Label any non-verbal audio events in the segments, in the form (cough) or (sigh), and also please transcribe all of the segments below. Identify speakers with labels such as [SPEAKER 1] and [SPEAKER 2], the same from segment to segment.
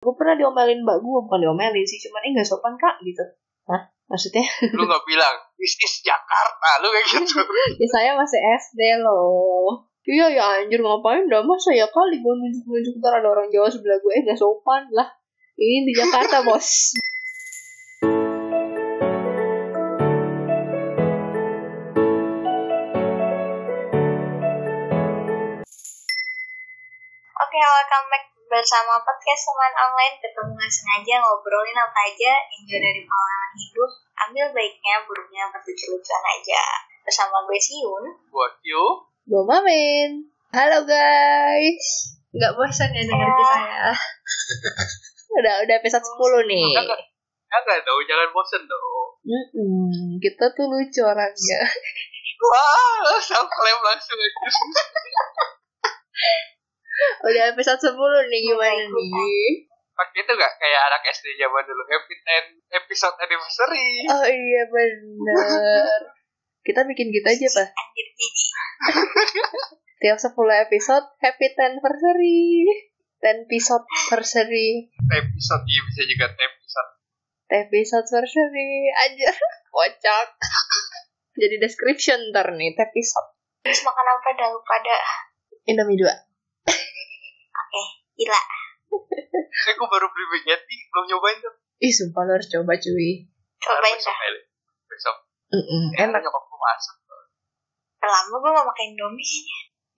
[SPEAKER 1] gue pernah diomelin mbak gue bukan diomelin sih cuman ini nggak sopan kak gitu Hah? maksudnya (laughs)
[SPEAKER 2] Lu nggak bilang, this is Jakarta. Lu kayak gitu.
[SPEAKER 3] (laughs)
[SPEAKER 1] ya saya masih SD loh iya ya anjir ngapain dah masa ya kali gue nunjuk-nunjuk ntar ada orang Jawa sebelah gue eh gak sopan lah ini di Jakarta (laughs) bos
[SPEAKER 3] Oke, welcome back bersama podcast teman online ketemu nggak sengaja ngobrolin apa aja enjoy dari pengalaman hidup ambil baiknya buruknya berlucu-lucuan aja bersama gue Siun
[SPEAKER 2] Buat you.
[SPEAKER 1] gue mamin halo guys
[SPEAKER 4] Nggak bosan ya denger kisah ya.
[SPEAKER 1] (laughs) udah udah episode 10 nih
[SPEAKER 2] Jangan dong, Ya jangan bosen dong.
[SPEAKER 1] Mm-mm, kita tuh lucu orangnya (laughs)
[SPEAKER 2] Wah, self-claim langsung aja.
[SPEAKER 1] udah episode 10 nih gimana nih
[SPEAKER 2] Pakai itu gak kayak anak SD zaman dulu. Epi- en- Episode anniversary.
[SPEAKER 1] oh iya bener kita bikin gitu aja pak
[SPEAKER 3] anjir jijik
[SPEAKER 1] tiap 10 episode happy 10 anniversary 10 episode anniversary
[SPEAKER 2] Episode iya bisa juga episode.
[SPEAKER 1] episode anniversary aja (laughs) kocak jadi description ntar nih episode
[SPEAKER 3] terus makan apa dah lu pada
[SPEAKER 1] Indomie 2
[SPEAKER 3] gila
[SPEAKER 2] Eh, gue baru beli baguette, belum nyobain tuh.
[SPEAKER 1] ih sumpah lo harus coba cuy
[SPEAKER 3] cobain
[SPEAKER 2] Besok
[SPEAKER 3] dah
[SPEAKER 2] kali. Besok.
[SPEAKER 1] Mm-mm,
[SPEAKER 2] Eh,
[SPEAKER 1] enak
[SPEAKER 2] nyokap gue masak.
[SPEAKER 3] lama gue gak makan indomie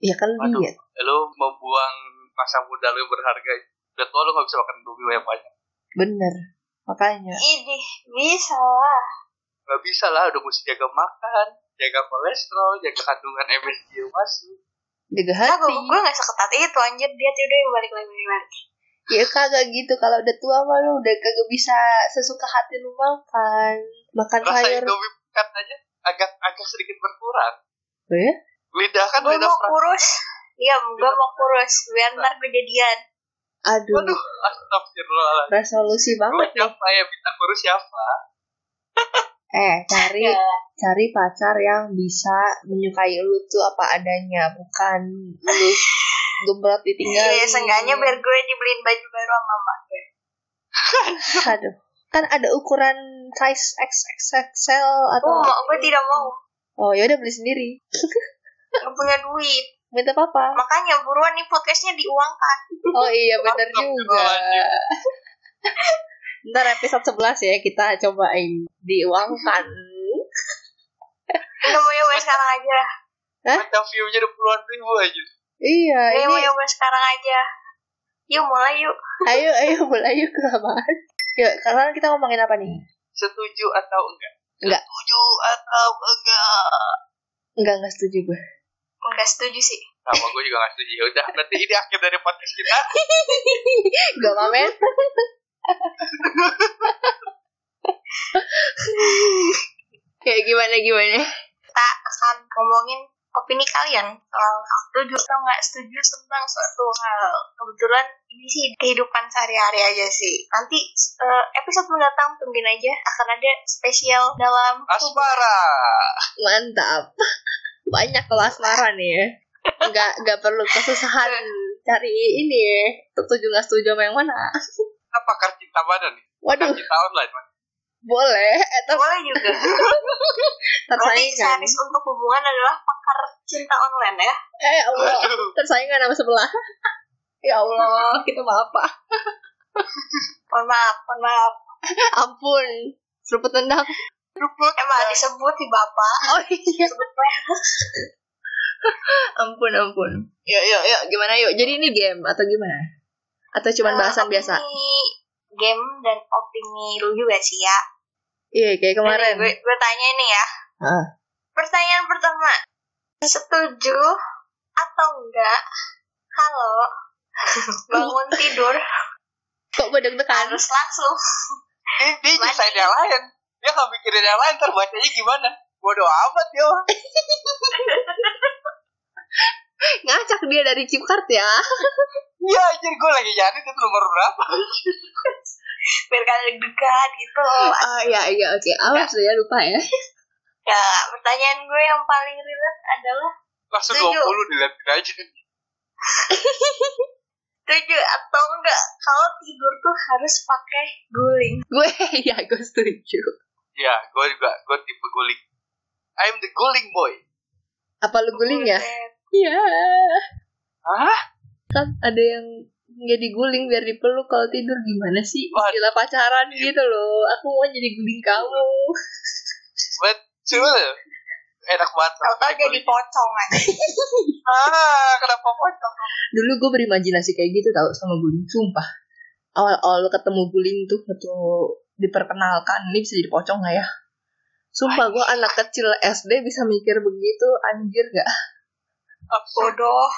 [SPEAKER 1] ya kan
[SPEAKER 2] Aduh,
[SPEAKER 1] diet
[SPEAKER 2] lu membuang masa muda lu yang berharga. Udah tua lu gak bisa makan dulu yang banyak.
[SPEAKER 1] bener makanya
[SPEAKER 3] ini bisa lah
[SPEAKER 2] Gak bisa lah, udah mesti jaga makan, jaga kolesterol, jaga kandungan MSG yang masuk.
[SPEAKER 1] jaga
[SPEAKER 3] nah, gue,
[SPEAKER 1] hati
[SPEAKER 3] gue gak seketat itu anjir dia tuh udah balik lagi balik lagi
[SPEAKER 1] ya kagak gitu kalau udah tua mah lo udah kagak bisa sesuka hati lu makan makan
[SPEAKER 2] Rasa
[SPEAKER 1] sayur
[SPEAKER 2] Indomie pekat aja agak agak sedikit berkurang.
[SPEAKER 1] Eh?
[SPEAKER 2] Lidah kan
[SPEAKER 3] gue
[SPEAKER 2] beda
[SPEAKER 3] mau
[SPEAKER 2] frasa.
[SPEAKER 3] kurus iya gue mau kurus biar ntar kejadian
[SPEAKER 1] aduh
[SPEAKER 2] Aduh, astagfirullahaladzim.
[SPEAKER 1] resolusi
[SPEAKER 2] Gue
[SPEAKER 1] banget
[SPEAKER 2] siapa ya, minta kurus siapa?
[SPEAKER 1] eh cari
[SPEAKER 3] ya
[SPEAKER 1] cari pacar yang bisa menyukai lu tuh apa adanya bukan lu gembrot ditinggal
[SPEAKER 3] Iya, seenggaknya biar gue dibeliin baju baru sama mama gue.
[SPEAKER 1] aduh kan ada ukuran size XXXL atau
[SPEAKER 3] Oh, gue tidak mau.
[SPEAKER 1] oh ya udah beli sendiri
[SPEAKER 3] Gak punya duit.
[SPEAKER 1] minta papa
[SPEAKER 3] Makanya buruan nih podcastnya diuangkan.
[SPEAKER 1] oh iya bener
[SPEAKER 2] Mantap,
[SPEAKER 1] juga (laughs) ntar episode 11 ya kita cobain diuangkan
[SPEAKER 3] Udah mau nyoba sekarang aja.
[SPEAKER 2] Ada view-nya udah puluhan ribu aja.
[SPEAKER 1] iya
[SPEAKER 3] Udah mau
[SPEAKER 1] ini
[SPEAKER 3] nyoba sekarang aja. Yuk mulai yuk.
[SPEAKER 1] ayo ayo mulai yuk kelamaan yuk sekarang kita ngomongin apa nih
[SPEAKER 2] Setuju atau enggak?
[SPEAKER 1] Enggak.
[SPEAKER 2] Setuju atau enggak?
[SPEAKER 1] enggak enggak setuju gue
[SPEAKER 3] Enggak setuju sih.
[SPEAKER 2] Sama gue juga gak setuju. Ya Udah, berarti ini akhir dari podcast kita.
[SPEAKER 1] gak mamen
[SPEAKER 4] Kayak Ya, gimana gimana?
[SPEAKER 3] Kita akan ngomongin opini kalian soal setuju atau nggak setuju tentang suatu hal. Kebetulan ini sih kehidupan sehari-hari aja sih. Nanti eh, episode mendatang tungguin aja akan ada spesial dalam
[SPEAKER 2] Asmara.
[SPEAKER 1] mantap banyak kalau asmara nih ya. nggak nggak perlu kesusahan cari ini ya setuju nggak setuju sama yang mana
[SPEAKER 2] Kita pakar cinta mana nih? Pakar
[SPEAKER 1] waduh
[SPEAKER 2] cinta online. Mas.
[SPEAKER 1] boleh eh, ter-
[SPEAKER 3] boleh juga. Berarti
[SPEAKER 1] tersaingan
[SPEAKER 3] Charis untuk hubungan adalah pakar cinta online ya.
[SPEAKER 1] eh allah
[SPEAKER 2] Waduh.
[SPEAKER 1] tersaingan sama sebelah (laughs) ya allah kita mau apa
[SPEAKER 3] Mohon maaf, mohon maaf.
[SPEAKER 1] ampun seruput tendang
[SPEAKER 3] Emang disebut di bapak.
[SPEAKER 1] oh iya ampun ampun yuk yuk yuk gimana yuk jadi ini game atau gimana atau cuman
[SPEAKER 3] Eh,
[SPEAKER 1] bahasan
[SPEAKER 3] opini
[SPEAKER 1] biasa
[SPEAKER 3] Game dan opini lu juga sih ya.
[SPEAKER 1] iya kayak kemarin
[SPEAKER 3] Ini Gue, gue tanya ini ya.
[SPEAKER 1] Ah.
[SPEAKER 3] Pertanyaan pertama. Setuju atau enggak?
[SPEAKER 1] (laughs)
[SPEAKER 3] Halo. Bangun tidur
[SPEAKER 1] kok gue deg-degan
[SPEAKER 3] harus langsung.
[SPEAKER 2] Ini dia nyusahin yang lain. Dia gak mikirin yang lain, terbacanya gimana? Bodoh amat dia. orang.
[SPEAKER 1] Eh, ngacak dia dari Cipkart ya
[SPEAKER 2] Iya anjir, gue lagi nyari itu nomor berapa.
[SPEAKER 3] Biar kalian deg-degan gitu.
[SPEAKER 1] Oh iya iya oke awas lu ya lupa ya.
[SPEAKER 3] Ya, pertanyaan gue yang paling relate adalah
[SPEAKER 2] Langsung
[SPEAKER 3] Setuju.
[SPEAKER 2] 20 dilihatin aja.
[SPEAKER 3] Setuju atau enggak? Kalau tidur tuh harus pakai guling.
[SPEAKER 1] Gue (laughs) ya gue setuju.
[SPEAKER 2] Ya, gue juga, gue tipe guling. I'm the guling boy.
[SPEAKER 1] Apa lu guling ya?
[SPEAKER 3] Buset.
[SPEAKER 1] Iya.
[SPEAKER 2] Hah?
[SPEAKER 1] Kan ada yang nggak diguling biar dipeluk kalau tidur gimana sih?
[SPEAKER 2] Wah.
[SPEAKER 1] Gila pacaran gitu loh. Aku mau jadi guling kamu.
[SPEAKER 2] Betul. Enak banget.
[SPEAKER 3] Atau jadi pocong eh.
[SPEAKER 1] (laughs)
[SPEAKER 3] aja.
[SPEAKER 2] Ah, kenapa pocong?
[SPEAKER 1] Dulu gue berimajinasi kayak gitu tau sama guling. Sumpah. Awal-awal ketemu guling tuh waktu diperkenalkan. Ini bisa jadi pocong nggak ya? Sumpah gue anak kecil SD bisa mikir begitu. Anjir gak?
[SPEAKER 2] Absurd.
[SPEAKER 3] Bodoh.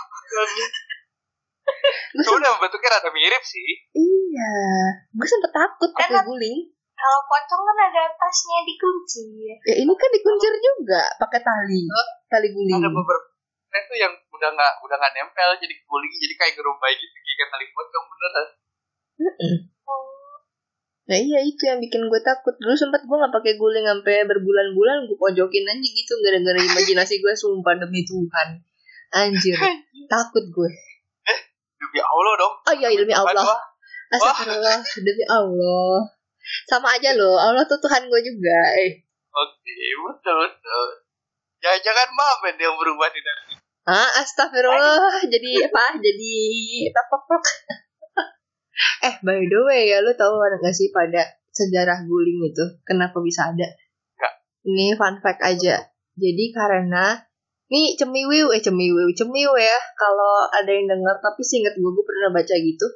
[SPEAKER 1] Gue
[SPEAKER 2] Cuma bentuknya rada mirip sih.
[SPEAKER 1] Iya, Kan gue sempet takut pakai
[SPEAKER 3] Enak.
[SPEAKER 1] guling.
[SPEAKER 3] Kalau pocong kan ada tasnya dikunci.
[SPEAKER 1] Ya ini kan dikuncir juga pakai tali, tali guling.
[SPEAKER 2] Ada beberapa itu yang udah nggak udah nggak nempel jadi guling jadi kayak gerombai gitu kayak tali pocong beneran
[SPEAKER 1] Nah iya itu yang bikin gue takut. Dulu sempet gue nggak pakai guling sampai berbulan-bulan gue pojokin aja gitu gara-gara imajinasi gue sumpah demi Tuhan. Anjir, takut gue.
[SPEAKER 2] demi allah dong
[SPEAKER 1] Oh iya demi Allah.
[SPEAKER 2] Aduh,
[SPEAKER 1] Astagfirullah, demi Allah. Sama aja loh, Allah tuh Tuhan gue juga. Eh.
[SPEAKER 2] oke betul betul jangan jangan maafin yang berubah tidak
[SPEAKER 1] Ah, astagfirullah. Jadi apa? Jadi apa? (laughs) eh, by the way ya, lu tahu nggak sih pada sejarah guling itu kenapa bisa ada?
[SPEAKER 2] Nggak.
[SPEAKER 1] Ini fun fact aja. Jadi karena nih cemiwiw, eh cemiwiw, cemiw ya. Kalau ada yang dengar, tapi singkat gue, gue pernah baca gitu.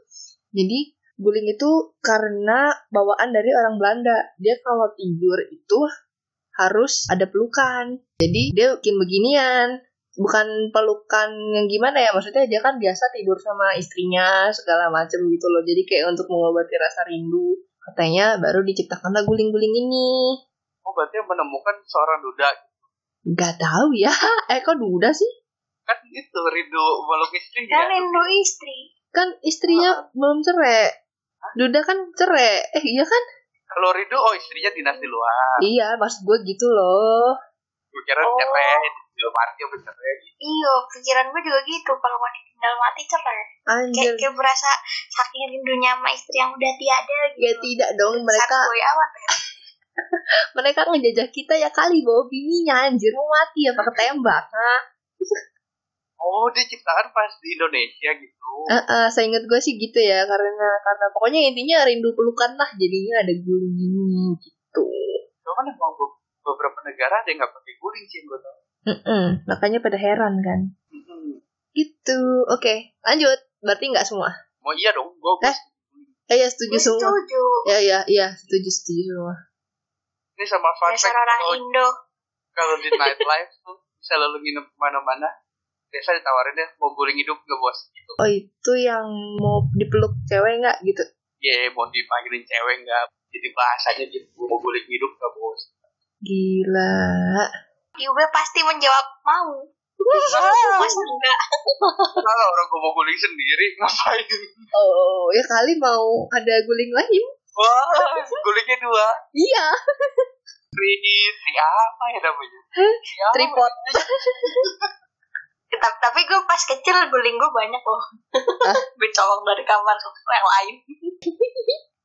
[SPEAKER 1] Jadi guling itu karena bawaan dari orang Belanda. Dia kalau tidur itu harus ada pelukan. Jadi dia bikin beginian bukan pelukan yang gimana ya maksudnya dia kan biasa tidur sama istrinya segala macem gitu loh jadi kayak untuk mengobati rasa rindu katanya baru diciptakanlah guling-guling ini
[SPEAKER 2] oh berarti menemukan seorang duda
[SPEAKER 1] nggak tahu ya (laughs) eh kok duda sih
[SPEAKER 2] kan itu rindu meluk istrinya
[SPEAKER 1] Iya.
[SPEAKER 3] Kan rindu istri.
[SPEAKER 1] kan istrinya belum cerai duda kan cerai eh iya kan
[SPEAKER 2] kalau rindu oh istrinya dinas di luar
[SPEAKER 1] iya maksud gue gitu loh
[SPEAKER 2] gue kira
[SPEAKER 3] Oh.
[SPEAKER 2] cerai dalam arti apa cerai
[SPEAKER 3] Iya, pikiran gue juga gitu. Kalau mau ditinggal mati cerai.
[SPEAKER 1] anjir
[SPEAKER 3] Kayak, kayak berasa saking rindunya sama istri yang udah tiada gitu.
[SPEAKER 1] ya tidak dong mereka
[SPEAKER 3] Saat ya, gue awal.
[SPEAKER 1] mereka ngejajah kita ya kali bawa bininya anjir mau mati apa ketembak Hah?
[SPEAKER 2] oh dia ciptaan pas di Indonesia gitu
[SPEAKER 3] Eh.
[SPEAKER 1] Heeh, seingat gue sih gitu ya karena karena pokoknya intinya rindu pelukan lah jadinya ada guling ini gitu.
[SPEAKER 2] cuman kan emang be- beberapa negara ada yang nggak pakai guling sih gue tau
[SPEAKER 1] Mm-mm, makanya pada heran kan.
[SPEAKER 2] Mm-mm.
[SPEAKER 1] Gitu. Oke, lanjut. Berarti nggak semua.
[SPEAKER 2] mau iya dong gue
[SPEAKER 1] Eh? Eh ya setuju
[SPEAKER 3] Gue
[SPEAKER 1] semua.
[SPEAKER 3] setuju.
[SPEAKER 1] Ya ya iya setuju setuju semua.
[SPEAKER 2] ini sama fun fact
[SPEAKER 3] Dasar orang
[SPEAKER 2] kalau-
[SPEAKER 3] Indo.
[SPEAKER 2] kalau di nightlife tuh selalu nginep kemana-mana biasa ditawarin deh mau guling hidup nggak bos gitu
[SPEAKER 1] Oh itu yang mau dipeluk cewek nggak gitu?
[SPEAKER 2] ya mau dipanggilin cewek nggak jadi bahasanya gitu mau guling hidup nggak bos
[SPEAKER 1] Gila.
[SPEAKER 3] Yube Ya, pasti menjawab mau. (laughs) Masa enggak?
[SPEAKER 2] kalau orang gue mau guling sendiri (laughs) ngapain
[SPEAKER 1] Oh ya kali mau ada guling lain?
[SPEAKER 2] wah gulingnya dua
[SPEAKER 1] Iya.
[SPEAKER 2] tri tri apa ya namanya
[SPEAKER 3] Hmm,
[SPEAKER 2] Tri apa?
[SPEAKER 1] Tripod.
[SPEAKER 3] Tapi, tapi gue pas kecil guling gue banyak loh.
[SPEAKER 1] Hah?
[SPEAKER 3] (laughs) gue colong dari kamar ke yang lain.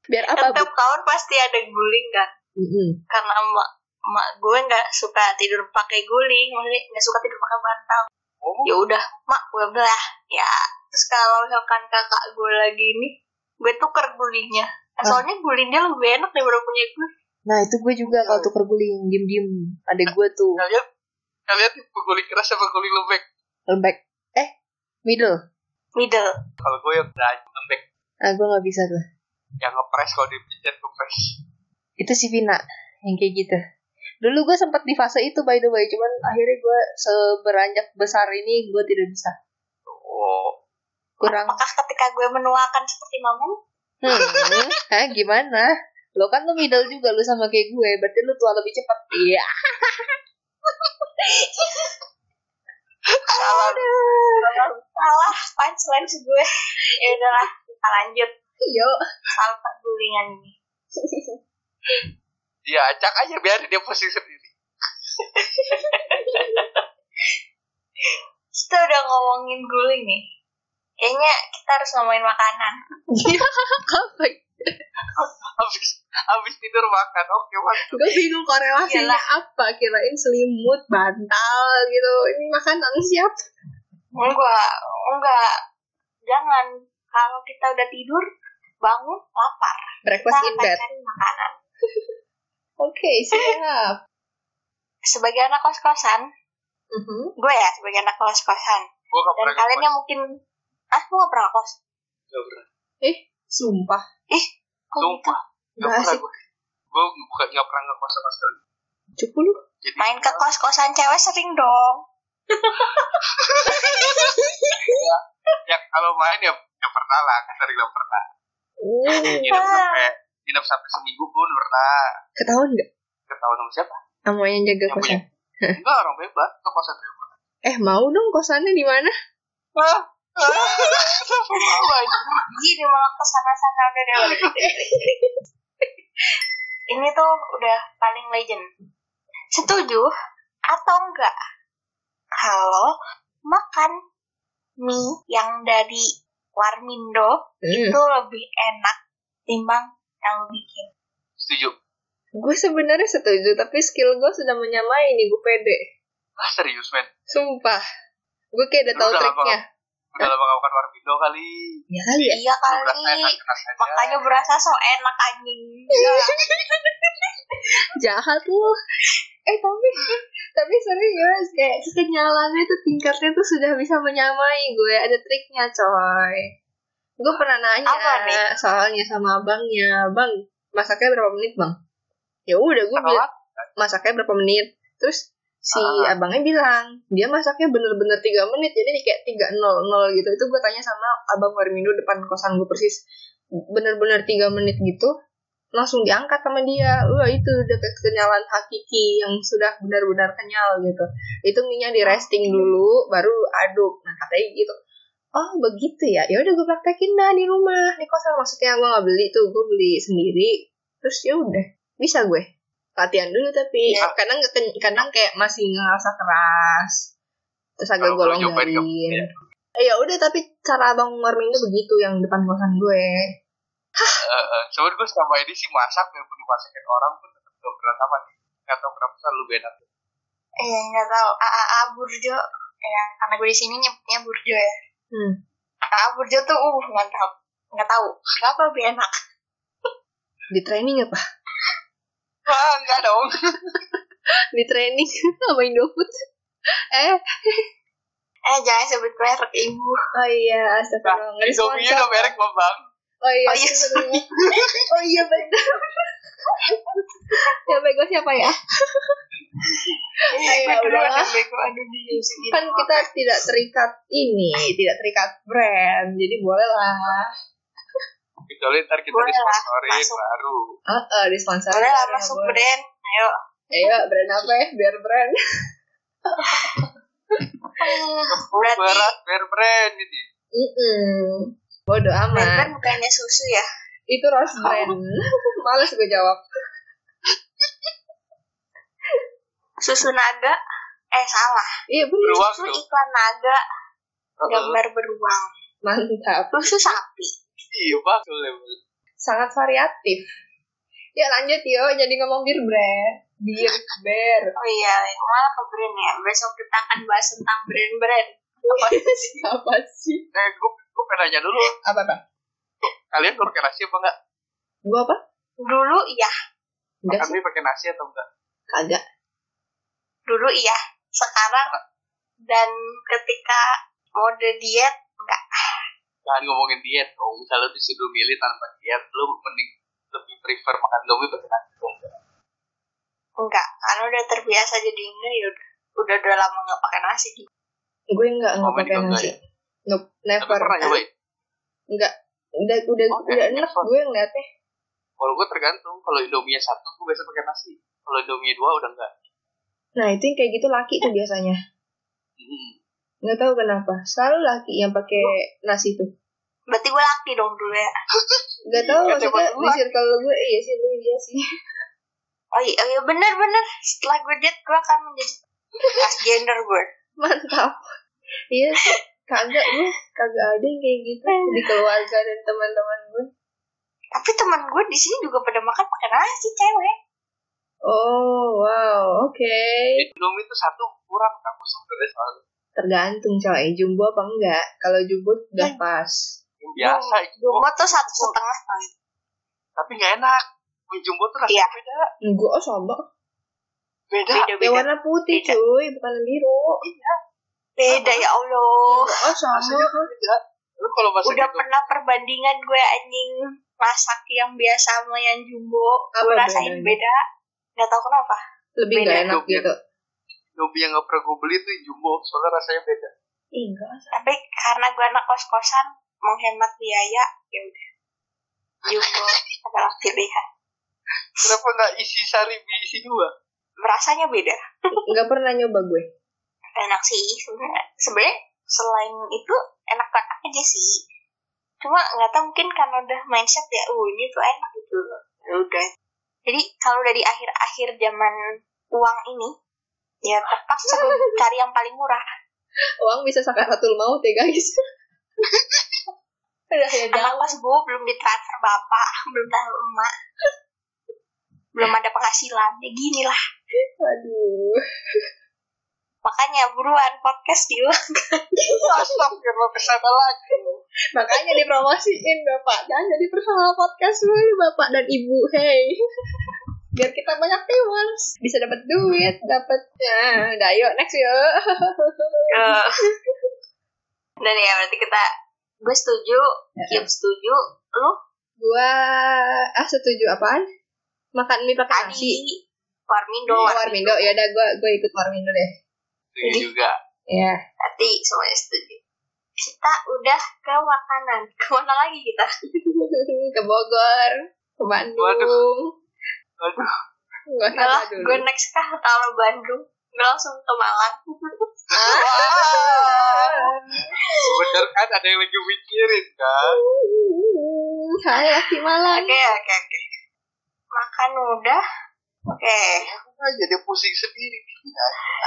[SPEAKER 1] Biar apa? Bu?
[SPEAKER 3] Setiap tahun pasti ada guling kan.
[SPEAKER 1] Mm-mm.
[SPEAKER 3] Karena emak, emak gue nggak suka tidur pakai guling. Maksudnya nggak suka tidur pakai bantal.
[SPEAKER 2] oh
[SPEAKER 3] Ya udah, mak gue belah. Ya, terus kalau misalkan kakak gue lagi ini, gue tuker gulingnya. Nah, Soalnya gulingnya lebih enak daripada punya gue.
[SPEAKER 1] Nah itu gue juga kalau tuker guling diem-diem ada gue tuh
[SPEAKER 2] kalian kalian tipe guling keras apa guling lembek
[SPEAKER 1] lembek eh middle
[SPEAKER 3] Middle.
[SPEAKER 2] kalau gue yang berani lembek
[SPEAKER 1] ah gue nggak bisa tuh
[SPEAKER 2] yang ngepres kalau dipencet ngepres
[SPEAKER 1] itu si Vina yang kayak gitu dulu gue sempat di fase itu by the way cuman akhirnya gue seberanjak besar ini gue tidak bisa
[SPEAKER 2] oh
[SPEAKER 1] kurang
[SPEAKER 3] Apakah ketika gue menuakan seperti mamen?
[SPEAKER 1] hmm (laughs) Hah, gimana lo kan lo middle juga lo sama kayak gue berarti lo tua lebih cepat iya
[SPEAKER 3] Salah punchline sih gue. ya udahlah, kita lanjut.
[SPEAKER 1] yo
[SPEAKER 3] Soal pergulingan ini.
[SPEAKER 2] ya acak aja biar dia posisi sendiri (laughs)
[SPEAKER 3] Kita udah ngomongin guling nih. Kayaknya kita harus ngomongin makanan.
[SPEAKER 1] (laughs) Apa?
[SPEAKER 2] Habis habis tidur makan. Oke, mantap.
[SPEAKER 1] Gue bingung korelasinya apa? Kirain selimut, bantal gitu. Ini makanan siap.
[SPEAKER 3] Enggak, enggak. Jangan. Kalau kita udah tidur, bangun lapar. Kita
[SPEAKER 1] Breakfast in
[SPEAKER 3] akan
[SPEAKER 1] bed.
[SPEAKER 3] cari makanan.
[SPEAKER 1] Oke, siap.
[SPEAKER 3] Sebagai anak kos-kosan,
[SPEAKER 1] Mhm.
[SPEAKER 3] gue ya sebagai anak kos-kosan.
[SPEAKER 2] Gua gak
[SPEAKER 3] Dan
[SPEAKER 2] pernah
[SPEAKER 3] kalian
[SPEAKER 2] ngekos.
[SPEAKER 3] yang mungkin, ah, gue gak pernah kos.
[SPEAKER 2] Gak pernah.
[SPEAKER 1] Sumpah.
[SPEAKER 3] Kok gitu?
[SPEAKER 2] Sumpah. Gak
[SPEAKER 1] Nggak
[SPEAKER 2] pernah
[SPEAKER 1] asik.
[SPEAKER 2] gue. Gue bukan gak pernah ngekos sama sekali.
[SPEAKER 1] Cukup lu.
[SPEAKER 2] Jadi
[SPEAKER 3] gitu? Main ke kos-kosan cewek sering dong.
[SPEAKER 2] ya kalau main ya ya pernah lah, sering lah pernah.
[SPEAKER 1] Oh.
[SPEAKER 2] Nginep
[SPEAKER 3] Ah.
[SPEAKER 2] sampai nginep sampai seminggu pun pernah.
[SPEAKER 1] Ketahuan nggak
[SPEAKER 2] Ketahuan sama siapa?
[SPEAKER 1] sama yang jaga
[SPEAKER 2] Yang
[SPEAKER 1] kosan?
[SPEAKER 3] Eh.
[SPEAKER 2] Enggak orang bebas ke kosan gue.
[SPEAKER 1] Eh mau dong kosannya di mana?
[SPEAKER 2] Ah. Ah.
[SPEAKER 3] Gini malah kesana-sana udah deh. udah. (laughs) Ini tuh udah paling legend. Setuju atau enggak? Kalau makan mie yang dari Warmindo
[SPEAKER 1] Hmm.
[SPEAKER 3] itu lebih enak timbang yang lu bikin.
[SPEAKER 2] Setuju.
[SPEAKER 1] Gue sebenarnya setuju, tapi skill gue sudah menyamai nih, gue pede.
[SPEAKER 2] Ah, serius, men.
[SPEAKER 1] Sumpah. Gue kayak udah
[SPEAKER 2] Lu
[SPEAKER 1] tahu
[SPEAKER 2] udah
[SPEAKER 1] triknya.
[SPEAKER 2] Udah lama gak makan warmindo kali.
[SPEAKER 1] Ya kali ya.
[SPEAKER 3] Iya
[SPEAKER 2] Lu berasa
[SPEAKER 3] kali.
[SPEAKER 2] enak-enak aja.
[SPEAKER 3] Makanya berasa so enak anjing.
[SPEAKER 1] Iya.
[SPEAKER 3] Iya. Enggak.
[SPEAKER 1] (laughs) Jahat lu. Eh tapi tapi serius kayak kekenyalannya tuh tingkatnya tuh sudah bisa menyamai gue. Ada triknya, coy. Gue pernah nanya
[SPEAKER 3] Apa nih?
[SPEAKER 1] soalnya sama abangnya, "Bang, masaknya berapa menit, Bang?" Ya udah gue bilang
[SPEAKER 2] Terawat.
[SPEAKER 1] masaknya berapa menit terus si
[SPEAKER 2] Ah.
[SPEAKER 1] abangnya bilang dia masaknya bener-bener tiga menit jadi kayak tiga nol nol gitu itu gue tanya sama abang Warmindo depan kosan gue persis bener-bener tiga menit gitu langsung diangkat sama dia wah itu udah kenyalan hakiki yang sudah benar-benar kenyal gitu itu minyak di resting dulu baru lu aduk nah katanya gitu oh begitu ya ya udah gue praktekin dah di rumah di kosan maksudnya gue nggak beli tuh gue beli sendiri terus ya udah bisa gue latihan dulu tapi Ah,
[SPEAKER 2] Ya.
[SPEAKER 1] kadang keten- kadang kayak masih ngerasa keras terus agak
[SPEAKER 2] Kalau perlu
[SPEAKER 1] golong
[SPEAKER 2] nyobain
[SPEAKER 1] garing
[SPEAKER 2] kamu, ya.
[SPEAKER 1] Eh, ya udah tapi cara abang Warmindo begitu yang depan kosan gue
[SPEAKER 2] Eh, eh, Cuman gue selama ini sih masak dan pun dimasakin orang pun tetap gak pernah sama nih. Gak tau kenapa selalu lebih enak.
[SPEAKER 3] Iya nggak tahu. AAA Burjo. Ya karena gue di sini nyebutnya Burjo ya.
[SPEAKER 1] hmm.
[SPEAKER 3] AAA Burjo tuh uh mantap. Nggak tahu. Kenapa lebih enak?
[SPEAKER 1] di training apa (laughs)
[SPEAKER 2] Ah, enggak dong.
[SPEAKER 1] di training (laughs) sama Indofood (laughs) eh
[SPEAKER 3] Eh jangan sebut merek ibu.
[SPEAKER 1] oh iya astagfirullah nggak
[SPEAKER 2] Nah, Indomie
[SPEAKER 1] sponsor.
[SPEAKER 2] udah merek kok, Bang.
[SPEAKER 1] oh iya
[SPEAKER 3] Oh iya,
[SPEAKER 1] astagfirullah. (laughs) oh iya benar yang bego siapa ya
[SPEAKER 3] Iya
[SPEAKER 1] ya udah.
[SPEAKER 3] Bego aduh di gitu. sini.
[SPEAKER 1] kan kita tidak terikat ini tidak terikat brand jadi boleh lah
[SPEAKER 2] Kecuali ntar kita
[SPEAKER 3] Boleh lah,
[SPEAKER 2] disponsorin
[SPEAKER 3] masuk.
[SPEAKER 2] baru.
[SPEAKER 1] uh, uh, di sponsor
[SPEAKER 3] Boleh lah masuk brand. Ayo.
[SPEAKER 1] ayo brand apa ya biar brand
[SPEAKER 3] Berarti
[SPEAKER 2] Berat, bare brand gitu.
[SPEAKER 1] Mm-mm. bodoh
[SPEAKER 3] brand
[SPEAKER 1] amat
[SPEAKER 3] kan bukannya susu ya?
[SPEAKER 1] itu rose brand
[SPEAKER 3] (laughs)
[SPEAKER 1] males gue jawab
[SPEAKER 3] Susu naga. Eh salah.
[SPEAKER 1] iya bener
[SPEAKER 2] Beruang tuh.
[SPEAKER 3] Susu iklan naga.
[SPEAKER 2] Heeh.
[SPEAKER 3] Gambar beruang.
[SPEAKER 1] mantap
[SPEAKER 3] Susu sapi.
[SPEAKER 2] Iya, Bang. Boleh, Bang.
[SPEAKER 1] sangat variatif ya lanjut yo jadi ngomong bir brand bir ber (laughs)
[SPEAKER 3] Oh iya. Malah ke brand ya. Besok kita akan bahas tentang brand-brand.
[SPEAKER 1] apa sih
[SPEAKER 2] Eh, gue gue pengen nanya dulu.
[SPEAKER 1] apa apa
[SPEAKER 2] Kalian pakai nasi apa enggak?
[SPEAKER 1] gue apa
[SPEAKER 3] Dulu iya.
[SPEAKER 1] enggak sih
[SPEAKER 2] Kami pakai nasi atau enggak?
[SPEAKER 1] kagak
[SPEAKER 3] dulu iya sekarang dan ketika mode diet
[SPEAKER 2] Jangan ngomongin diet dong. Misalnya lu disuruh milih tanpa diet, lu mending lebih prefer makan Indomie pakai nasi atau enggak?
[SPEAKER 3] enggak karena udah terbiasa jadi ini ya udah udah, udah lama nggak pakai nasi gitu
[SPEAKER 1] gue enggak nggak
[SPEAKER 2] Komen
[SPEAKER 1] pakai
[SPEAKER 2] dong,
[SPEAKER 1] nasi Nope,
[SPEAKER 2] Tapi
[SPEAKER 1] never
[SPEAKER 2] pernah nyobain.
[SPEAKER 1] Enggak. Udah udah
[SPEAKER 2] Oke,
[SPEAKER 1] udah enak
[SPEAKER 2] next one.
[SPEAKER 1] gue ngeliatnya.
[SPEAKER 2] Kalau gue tergantung. Kalau Indomie satu, gue biasa pakai nasi. Kalau Indomie dua, udah enggak.
[SPEAKER 1] Nah, itu yang kayak gitu laki tuh biasanya.
[SPEAKER 2] Hmm.
[SPEAKER 1] Nggak tahu kenapa. Selalu laki yang pakai nasi tuh.
[SPEAKER 3] berarti gue laki dong dulu ya
[SPEAKER 1] Nggak tahu
[SPEAKER 2] Iya,
[SPEAKER 1] maksudnya di
[SPEAKER 2] coba
[SPEAKER 1] circle gue iya sih gue dia sih. (laughs)
[SPEAKER 3] oh iya, oh iya bener bener setelah gue diet gue akan menjadi transgender gue
[SPEAKER 1] Mantap. Iya sih. kagak lu kagak ada yang kayak gitu di keluarga dan teman-teman gue
[SPEAKER 3] Tapi teman gue di sini juga pada makan pakai nasi cewek.
[SPEAKER 1] oh wow oke
[SPEAKER 2] Indomie itu satu kurang aku sebenarnya soal
[SPEAKER 1] tergantung coy jumbo apa enggak kalau jumbo udah
[SPEAKER 3] Ya.
[SPEAKER 1] pas
[SPEAKER 2] yang biasa itu
[SPEAKER 3] Gue tuh satu setengah.
[SPEAKER 2] tapi nggak enak kue jumbo tuh rasanya
[SPEAKER 3] Iya.
[SPEAKER 2] beda
[SPEAKER 1] gue oh sombong
[SPEAKER 2] beda
[SPEAKER 1] yang
[SPEAKER 3] Beda-beda.
[SPEAKER 1] warna putih
[SPEAKER 3] Beda.
[SPEAKER 1] cuy bukan yang biru
[SPEAKER 3] Beda ya
[SPEAKER 1] oh
[SPEAKER 3] Allah.
[SPEAKER 2] rasanya
[SPEAKER 1] sombong
[SPEAKER 2] beda lu kalau masak
[SPEAKER 3] Udah
[SPEAKER 2] Indomie
[SPEAKER 3] pernah perbandingan gue anjing masak yang biasa sama yang jumbo.
[SPEAKER 1] Apa
[SPEAKER 3] Gue rasain
[SPEAKER 1] bedanya?
[SPEAKER 3] beda. Gak tau kenapa.
[SPEAKER 1] lebih
[SPEAKER 3] beda.
[SPEAKER 1] nggak enak
[SPEAKER 2] Jumbo.
[SPEAKER 1] gitu
[SPEAKER 2] Indomie yang nggak pernah gue beli tuh yang jumbo soalnya rasanya beda
[SPEAKER 1] Ih, enggak
[SPEAKER 3] Tapi karena gue anak kos-kosan, menghemat biaya, ya udah. Jumbo adalah pilihan.
[SPEAKER 2] kenapa nggak isi sari isi dua
[SPEAKER 3] Rasanya beda.
[SPEAKER 1] nggak pernah nyoba gue
[SPEAKER 3] enak sih sebenarnya sebenarnya selain itu enak enak aja sih cuma nggak tahu mungkin karena udah mindset ya uh ini tuh enak gitu Ya udah jadi kalau dari akhir-akhir zaman uang ini ya terpaksa gue cari yang paling murah
[SPEAKER 1] uang bisa sakaratul maut ya guys udah ya
[SPEAKER 3] anak
[SPEAKER 1] jauh
[SPEAKER 3] pas gue belum ditransfer bapak belum tahu emak belum ada penghasilan ya gini lah
[SPEAKER 1] aduh
[SPEAKER 3] makanya buruan podcast (laughs) diulang
[SPEAKER 2] astagfirullah kesana lagi
[SPEAKER 1] makanya dipromosiin bapak jangan jadi personal podcast dulu bapak dan ibu hey biar kita banyak viewers bisa dapat duit dapat nah udah yuk next yuk
[SPEAKER 3] Eh, (laughs) dan ya berarti kita gue setuju Kim setuju lu
[SPEAKER 1] gua ah setuju apaan makan mie pakai
[SPEAKER 3] Adi
[SPEAKER 1] nasi
[SPEAKER 3] Warmindo
[SPEAKER 1] Oh, Warmindo ya udah gua gua ikut Warmindo deh
[SPEAKER 2] Iya juga
[SPEAKER 1] ya (laughs)
[SPEAKER 3] Adi semuanya setuju kita udah ke makanan kemana lagi kita
[SPEAKER 1] ke Bogor ke Bandung
[SPEAKER 2] Waduh. aduh
[SPEAKER 1] gua
[SPEAKER 3] Udah lah,
[SPEAKER 1] salah dulu
[SPEAKER 3] gue next kah kalau Bandung gue langsung ke
[SPEAKER 1] (laughs)
[SPEAKER 3] Malang
[SPEAKER 2] bener kan ada yang lagi mikirin kan
[SPEAKER 1] Hai laki malang.
[SPEAKER 3] oke oke oke makan udah oke
[SPEAKER 2] Ah, jadi pusing sendiri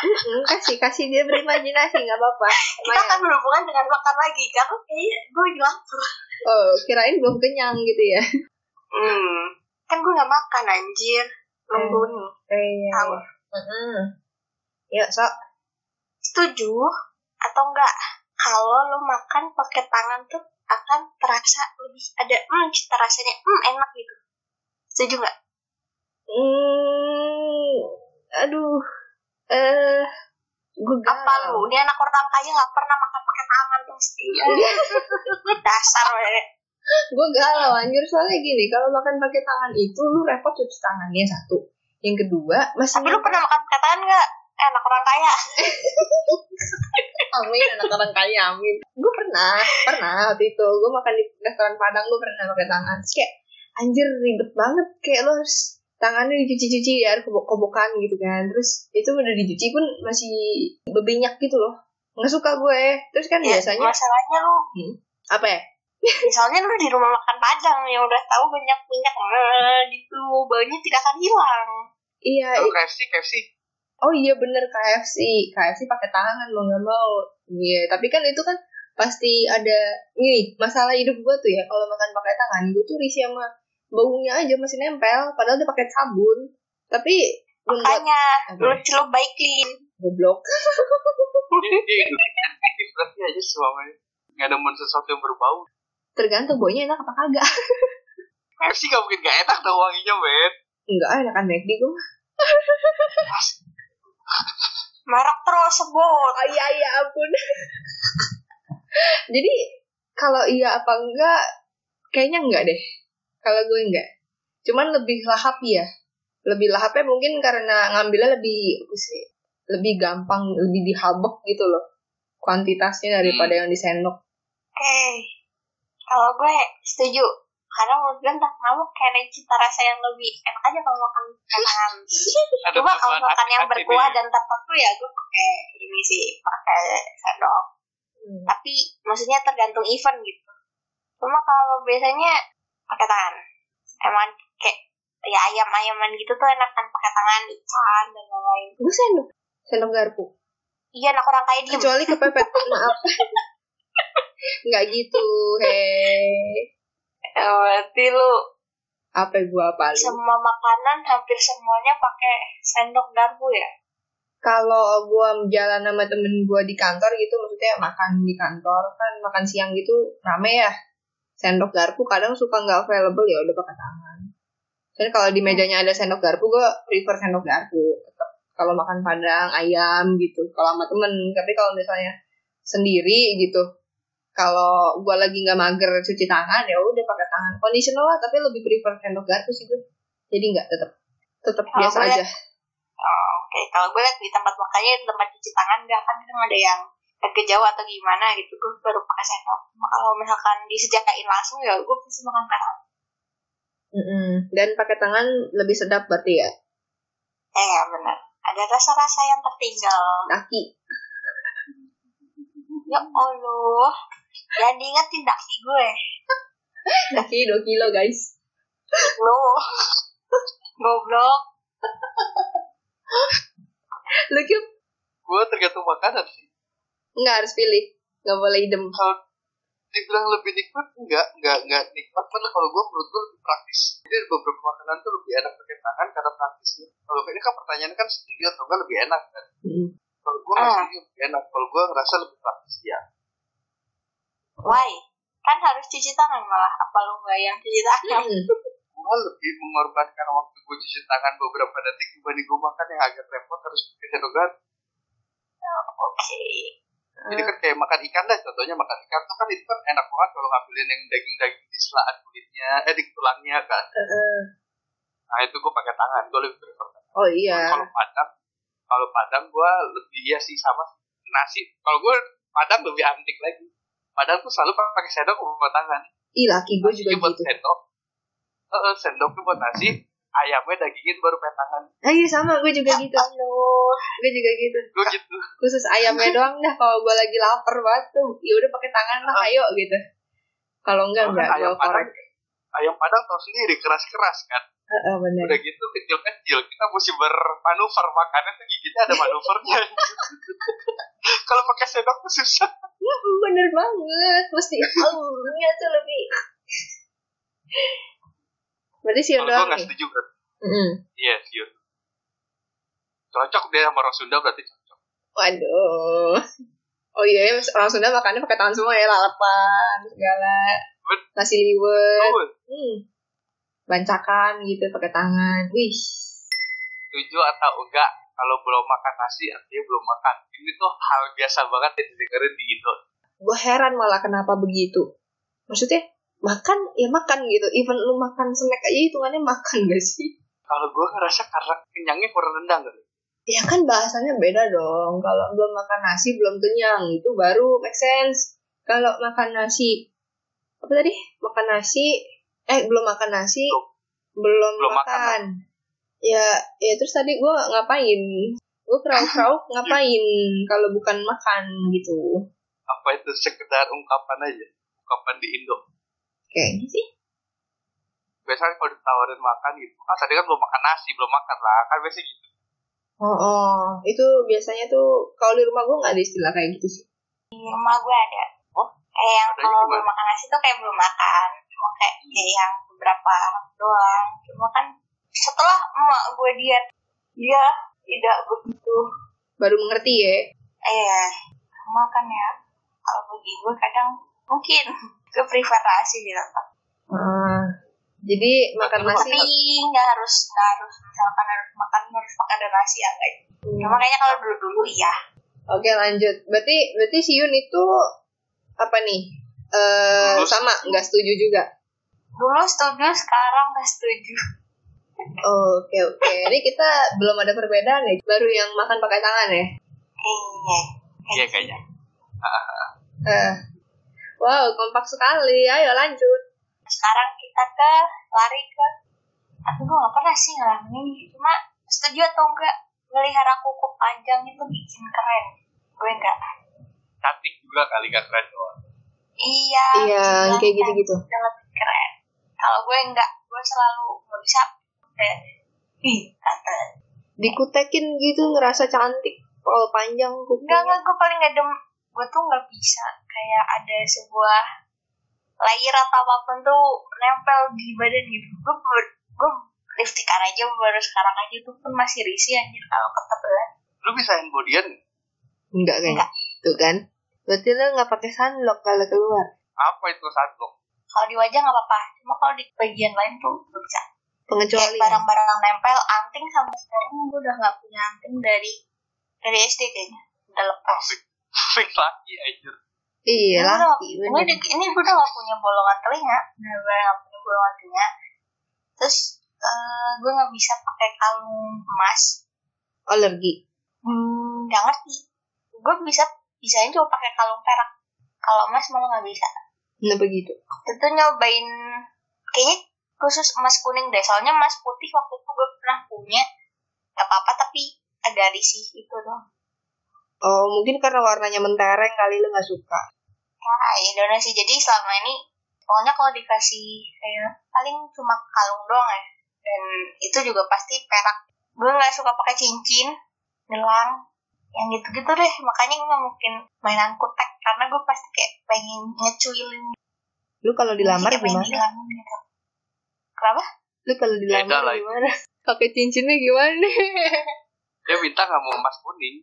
[SPEAKER 1] Mm, kasih kasih dia berimajinasi nggak apa-apa.
[SPEAKER 3] kita akan berhubungan dengan makan lagi karena kayaknya gue hilang
[SPEAKER 1] Oh kirain belum kenyang gitu ya.
[SPEAKER 3] hmm. kan gue nggak makan anjir
[SPEAKER 1] Hmm.
[SPEAKER 3] nunggu nih
[SPEAKER 1] Iya.
[SPEAKER 3] Tahu.
[SPEAKER 1] Hmm. Yuk sok.
[SPEAKER 3] setuju atau enggak kalau lo makan pakai tangan tuh akan terasa lebih ada hmm cita rasanya hmm enak gitu setuju nggak
[SPEAKER 1] Hmm, aduh. Eh, gue
[SPEAKER 3] apa lu ini anak orang kaya nggak pernah makan pakai tangan tuh pasti
[SPEAKER 1] Iya.
[SPEAKER 3] dasar weh.
[SPEAKER 1] Gue galau anjir soalnya gini, kalau makan pakai tangan itu lu repot cuci tangannya satu. Yang kedua, masih
[SPEAKER 3] tapi lu pernah makan pakai tangan nggak Eh, anak orang kaya
[SPEAKER 1] amin anak orang kaya amin gue pernah pernah waktu itu gue makan di restoran padang gue pernah pakai tangan Terus kayak anjir ribet banget kayak lo harus tangannya dicuci-cuci ya harus kobok kobokan gitu kan terus itu udah dicuci pun masih bebenyak gitu loh nggak suka gue terus kan
[SPEAKER 3] Ya,
[SPEAKER 1] biasanya
[SPEAKER 3] masalahnya lu
[SPEAKER 1] apa ya
[SPEAKER 3] misalnya lu di rumah makan padang yang udah tahu banyak minyak eh, gitu baunya tidak akan hilang
[SPEAKER 1] iya
[SPEAKER 2] Lu
[SPEAKER 1] i-
[SPEAKER 2] KFC KFC
[SPEAKER 1] oh iya bener KFC KFC pakai tangan mau nggak mau iya tapi kan itu kan pasti ada ini masalah hidup gue tuh ya kalau makan pakai tangan gue tuh risih sama baunya aja masih nempel padahal udah pakai sabun tapi membuat
[SPEAKER 3] makanya
[SPEAKER 1] Apa?
[SPEAKER 3] lu celup baik clean
[SPEAKER 1] goblok
[SPEAKER 2] Dia- dia hidupnya berarti aja suamanya nggak demen sesuatu yang berbau
[SPEAKER 1] tergantung baunya enak apa kagak
[SPEAKER 2] KFC nggak mungkin nggak enak dong wanginya men
[SPEAKER 1] enggak enakan McD gue mah
[SPEAKER 3] merek terus sebut
[SPEAKER 1] oh iya iya ampun jadi kalau iya apa enggak kayaknya enggak deh kalau gue enggak cuman lebih lahap ya lebih lahapnya mungkin karena ngambilnya lebih apa sih lebih gampang lebih dihabek gitu loh kuantitasnya daripada yang di sendok
[SPEAKER 3] Oke, Eh, kalau gue setuju. Karena menurut gue entah kamu kayaknya cita rasa yang lebih enak aja kalau makan pakai tangan.
[SPEAKER 2] ada
[SPEAKER 3] Coba kalau
[SPEAKER 2] perasaan
[SPEAKER 3] makan yang
[SPEAKER 2] hati-hati
[SPEAKER 3] berkuah
[SPEAKER 2] nih.
[SPEAKER 3] dan tertentu ya gue pakai ini sih, pakai sendok. Tapi maksudnya tergantung event gitu. Cuma kalau biasanya pakai tangan. Emang kayak ya ayam-ayaman gitu tuh enak kan pakai tangan, ikan dan lain-lain.
[SPEAKER 1] gue sendok sendok garpu
[SPEAKER 3] Iya anak orang kaya diem.
[SPEAKER 1] kecuali kepepet maaf nggak gitu hei
[SPEAKER 3] Ya, berarti lu
[SPEAKER 1] apa gua apa lu?
[SPEAKER 3] semua makanan hampir semuanya pakai sendok garpu ya?
[SPEAKER 1] kalau gua jalan sama temen gua di kantor gitu maksudnya makan di kantor kan makan siang gitu rame ya sendok garpu kadang suka nggak available ya udah pakai tangan jadi kalau di mejanya ada sendok garpu gua prefer sendok garpu tetep. kalau makan padang ayam gitu kalau sama temen tapi kalau misalnya sendiri gitu kalau gua lagi nggak mager cuci tangan ya udah pakai tangan conditional lah tapi lebih prefer sendok garpu sih gua. jadi nggak tetap tetap
[SPEAKER 3] Kalau
[SPEAKER 1] biasa
[SPEAKER 3] gua
[SPEAKER 1] aja
[SPEAKER 3] Oh, Oke, kalau gue lihat di tempat makannya di tempat cuci tangan nggak kan kadang ada yang agak jauh atau gimana gitu, gue baru pakai sendok. Kalau misalkan disejakain langsung ya gue pasti makan kanan.
[SPEAKER 1] Mm-mm. Dan pakai tangan lebih sedap berarti ya.
[SPEAKER 3] Eh, ya, benar. Ada rasa-rasa yang tertinggal.
[SPEAKER 1] Kaki.
[SPEAKER 3] Ya Allah, jangan diingetin daki gue.
[SPEAKER 1] Kaki 2 kilo guys.
[SPEAKER 3] Lu, (laughs) goblok.
[SPEAKER 1] Lu Kim?
[SPEAKER 2] Gue tergantung makanan sih.
[SPEAKER 1] Nggak harus pilih. Nggak boleh idem.
[SPEAKER 2] Kalau dibilang lebih nikmat, enggak, enggak, enggak nikmat. Karena kalau gue menurut gue lebih praktis. Jadi ada beberapa makanan tuh lebih enak pakai tangan karena praktisnya. Kalau ini kan pertanyaan kan setuju atau enggak lebih enak kan.
[SPEAKER 1] Mm-mm.
[SPEAKER 2] Kalau gue nggak
[SPEAKER 3] Ah.
[SPEAKER 2] setuju lebih enak. Kalau gue ngerasa lebih praktis ya.
[SPEAKER 3] Why? Kan harus cuci tangan malah. Apa lu nggak yang cuci tangan? (laughs)
[SPEAKER 1] Mm-mm.
[SPEAKER 2] Gue lebih mengorbankan waktu gue cuci tangan beberapa detik dibanding gue makan yang agak repot harus pakai sendok garpu.
[SPEAKER 3] Oke.
[SPEAKER 2] Jadi kan kayak makan ikan dah, contohnya makan ikan tuh kan itu kan enak banget kalau ngambilin yang daging-daging di selaan kulitnya, eh di tulangnya kan.
[SPEAKER 1] Heeh.
[SPEAKER 2] Nah itu gue pakai tangan, gue lebih prefer. tangan.
[SPEAKER 1] Oh iya.
[SPEAKER 2] Kalau padang, kalau padang gue lebih ya sih sama nasi. Kalau gue padang lebih antik lagi. Padang tuh selalu pakai sendok buat tangan.
[SPEAKER 1] Ih laki gue juga
[SPEAKER 2] Nasinya buat
[SPEAKER 1] gitu.
[SPEAKER 2] sendok. Eh, eh, sendoknya buat nasi, ayamnya dagingin baru pakai tangan.
[SPEAKER 1] Ah, iya sama gue juga gitu.
[SPEAKER 3] Aduh,
[SPEAKER 1] Gue juga gitu.
[SPEAKER 2] Gue gitu.
[SPEAKER 1] Khusus ayamnya doang dah kalau gue lagi lapar banget tuh. Ya udah pakai tangan lah ayo gitu. Kalau enggak enggak gue
[SPEAKER 2] ayam padang,
[SPEAKER 1] Iya, korek.
[SPEAKER 2] ayam padang tau sendiri keras-keras kan.
[SPEAKER 1] Heeh, bener.
[SPEAKER 2] udah gitu kecil-kecil kita mesti bermanuver makannya tuh gigitnya ada manuvernya (laughs) kalau pakai sendok tuh susah
[SPEAKER 1] Mm, Bener banget. Mesti oh, iya tuh lebih. Berarti siang
[SPEAKER 2] kalau gue
[SPEAKER 1] doang
[SPEAKER 2] nggak
[SPEAKER 1] nih.
[SPEAKER 2] setuju berarti
[SPEAKER 1] Mm-mm.
[SPEAKER 2] iya sih cocok dia sama orang Sunda berarti cocok
[SPEAKER 1] Waduh. Oh iya, ya, orang Sunda makannya pakai tangan semua ya, lalapan, segala.
[SPEAKER 2] Bet.
[SPEAKER 1] Nasi liwet.
[SPEAKER 2] Betul.
[SPEAKER 1] Hmm. Bancakan gitu pakai tangan. Wih.
[SPEAKER 2] setuju atau enggak kalau belum makan nasi artinya belum makan ini tuh hal biasa banget yang didengerin di Indo
[SPEAKER 1] Gue heran malah kenapa begitu. Maksudnya, makan ya makan gitu. Even lu makan snack aja hitungannya makan (laughs) gak sih?
[SPEAKER 2] kalau gue ngerasa karena kenyangnya kurang rendang gitu
[SPEAKER 1] Ya kan bahasanya beda dong. Kalau belum makan nasi belum kenyang itu baru make sense. Kalau makan nasi apa tadi? Makan nasi eh belum makan nasi
[SPEAKER 2] Belum.
[SPEAKER 1] belum,
[SPEAKER 2] Belum
[SPEAKER 1] makan.
[SPEAKER 2] makan.
[SPEAKER 1] Ya ya terus tadi gue ngapain? Gue kerau-kerau (laughs) ngapain kalau bukan makan gitu.
[SPEAKER 2] apa itu sekedar ungkapan aja ungkapan di Indo
[SPEAKER 1] Kayaknya gitu sih.
[SPEAKER 2] biasanya kalau ditawarin makan gitu ah tadi kan belum makan nasi belum makan lah kan biasanya gitu
[SPEAKER 1] Oh, oh. itu biasanya tuh kalau di rumah gue nggak ada istilah kayak gitu sih.
[SPEAKER 3] di rumah gue ada.
[SPEAKER 2] Oh,
[SPEAKER 3] Eh, yang
[SPEAKER 2] adanya
[SPEAKER 3] kalau
[SPEAKER 2] gimana?
[SPEAKER 3] belum makan nasi tuh kayak belum makan. Cuma kayak, kayak yang beberapa orang doang. Cuma kan setelah emak gue diet, dia tidak begitu.
[SPEAKER 1] Baru mengerti ya.
[SPEAKER 3] Eh, makan ya. Kalau bagi gue kadang mungkin gue prefer nasi gitu.
[SPEAKER 1] Ah, jadi makan
[SPEAKER 2] Baru
[SPEAKER 1] nasi
[SPEAKER 3] Tapi nggak harus, nggak harus misalkan harus makan harus makan ada nasi ya enggak. Cuma kayaknya kalau dulu-dulu iya.
[SPEAKER 1] Oke lanjut. Berarti berarti si Yun itu apa nih? Eh
[SPEAKER 2] Lulus.
[SPEAKER 1] sama nggak setuju juga.
[SPEAKER 3] Dulu setuju, sekarang nggak setuju.
[SPEAKER 1] Oke oke. Ini kita belum ada perbedaan ya. Baru yang makan pakai tangan ya.
[SPEAKER 3] Iya.
[SPEAKER 2] Iya kayaknya.
[SPEAKER 1] Eh. Wow kompak sekali. Ayo lanjut.
[SPEAKER 3] sekarang kita ke lari ke aku gue gak pernah sih ngalamin ini. cuma setuju atau enggak melihara kuku panjang itu bikin keren gue enggak
[SPEAKER 2] Cantik juga kali kan keren doang.
[SPEAKER 3] iya
[SPEAKER 1] Iya
[SPEAKER 3] bilang
[SPEAKER 1] kayak gitu
[SPEAKER 3] cantik
[SPEAKER 1] gitu.
[SPEAKER 3] udah lebih keren kalau gue enggak gue selalu gak bisa kayak, ih kata
[SPEAKER 1] Dikutekin gitu ngerasa cantik. Kalau panjang
[SPEAKER 3] enggak
[SPEAKER 1] kupingnya.
[SPEAKER 3] enggak gue paling gak dem gue tuh nggak bisa kayak ada sebuah layer atau apapun tuh nempel di badan gitu gue gue liftikan aja baru sekarang aja tuh pun masih risih anjir kalau ketebelan
[SPEAKER 2] Lu bisa handbodyan?
[SPEAKER 1] Enggak kayaknya. Tuh kan. Berarti lo nggak pakai sunblock kalau keluar.
[SPEAKER 2] Apa itu sunblock?
[SPEAKER 3] kalau di wajah nggak apa-apa cuma kalau di bagian lain tuh nggak bisa kayak
[SPEAKER 1] Pengecualian.
[SPEAKER 3] barang-barang yang nempel anting sampai sekarang gue udah nggak punya anting dari dari SD kayaknya udah lepas
[SPEAKER 2] (laughs) Fix lagi aja.
[SPEAKER 1] Iya
[SPEAKER 3] Gue
[SPEAKER 1] lah.
[SPEAKER 3] udah- gue udah- ini gue udah gak punya bolongan telinga benar-benar gak punya bolongan telinga terus eh, gue gak bisa pakai kalung emas
[SPEAKER 1] Alergi.
[SPEAKER 3] hmm, gak ngerti gue bisa bisanya cuma pakai kalung perak kalau emas malah gak bisa
[SPEAKER 1] Kenapa gitu?
[SPEAKER 3] waktu itu nyobain kayaknya khusus emas kuning deh soalnya emas putih waktu itu gue pernah punya gak apa-apa tapi agak risih gitu itu dong
[SPEAKER 1] Oh mungkin karena warnanya mentereng kali lo nggak suka.
[SPEAKER 3] nah, Indonesia jadi selama ini pokoknya kalau dikasih kayak paling cuma kalung doang ya dan itu juga pasti perak gue nggak suka pakai cincin gelang yang gitu-gitu deh makanya gue nggak mungkin mainan kutek karena gue pasti kayak pengen ngecuilin
[SPEAKER 1] Lu kalau dilamar
[SPEAKER 3] Kayak
[SPEAKER 1] gimana?
[SPEAKER 3] pengen dihilangin gitu. kenapa
[SPEAKER 1] Lu kalau
[SPEAKER 2] Beda lah
[SPEAKER 1] dilamar
[SPEAKER 2] itu.
[SPEAKER 1] gimana? (laughs) Pakai cincinnya gimana (laughs) nih?
[SPEAKER 2] Dia minta nggak mau emas kuning.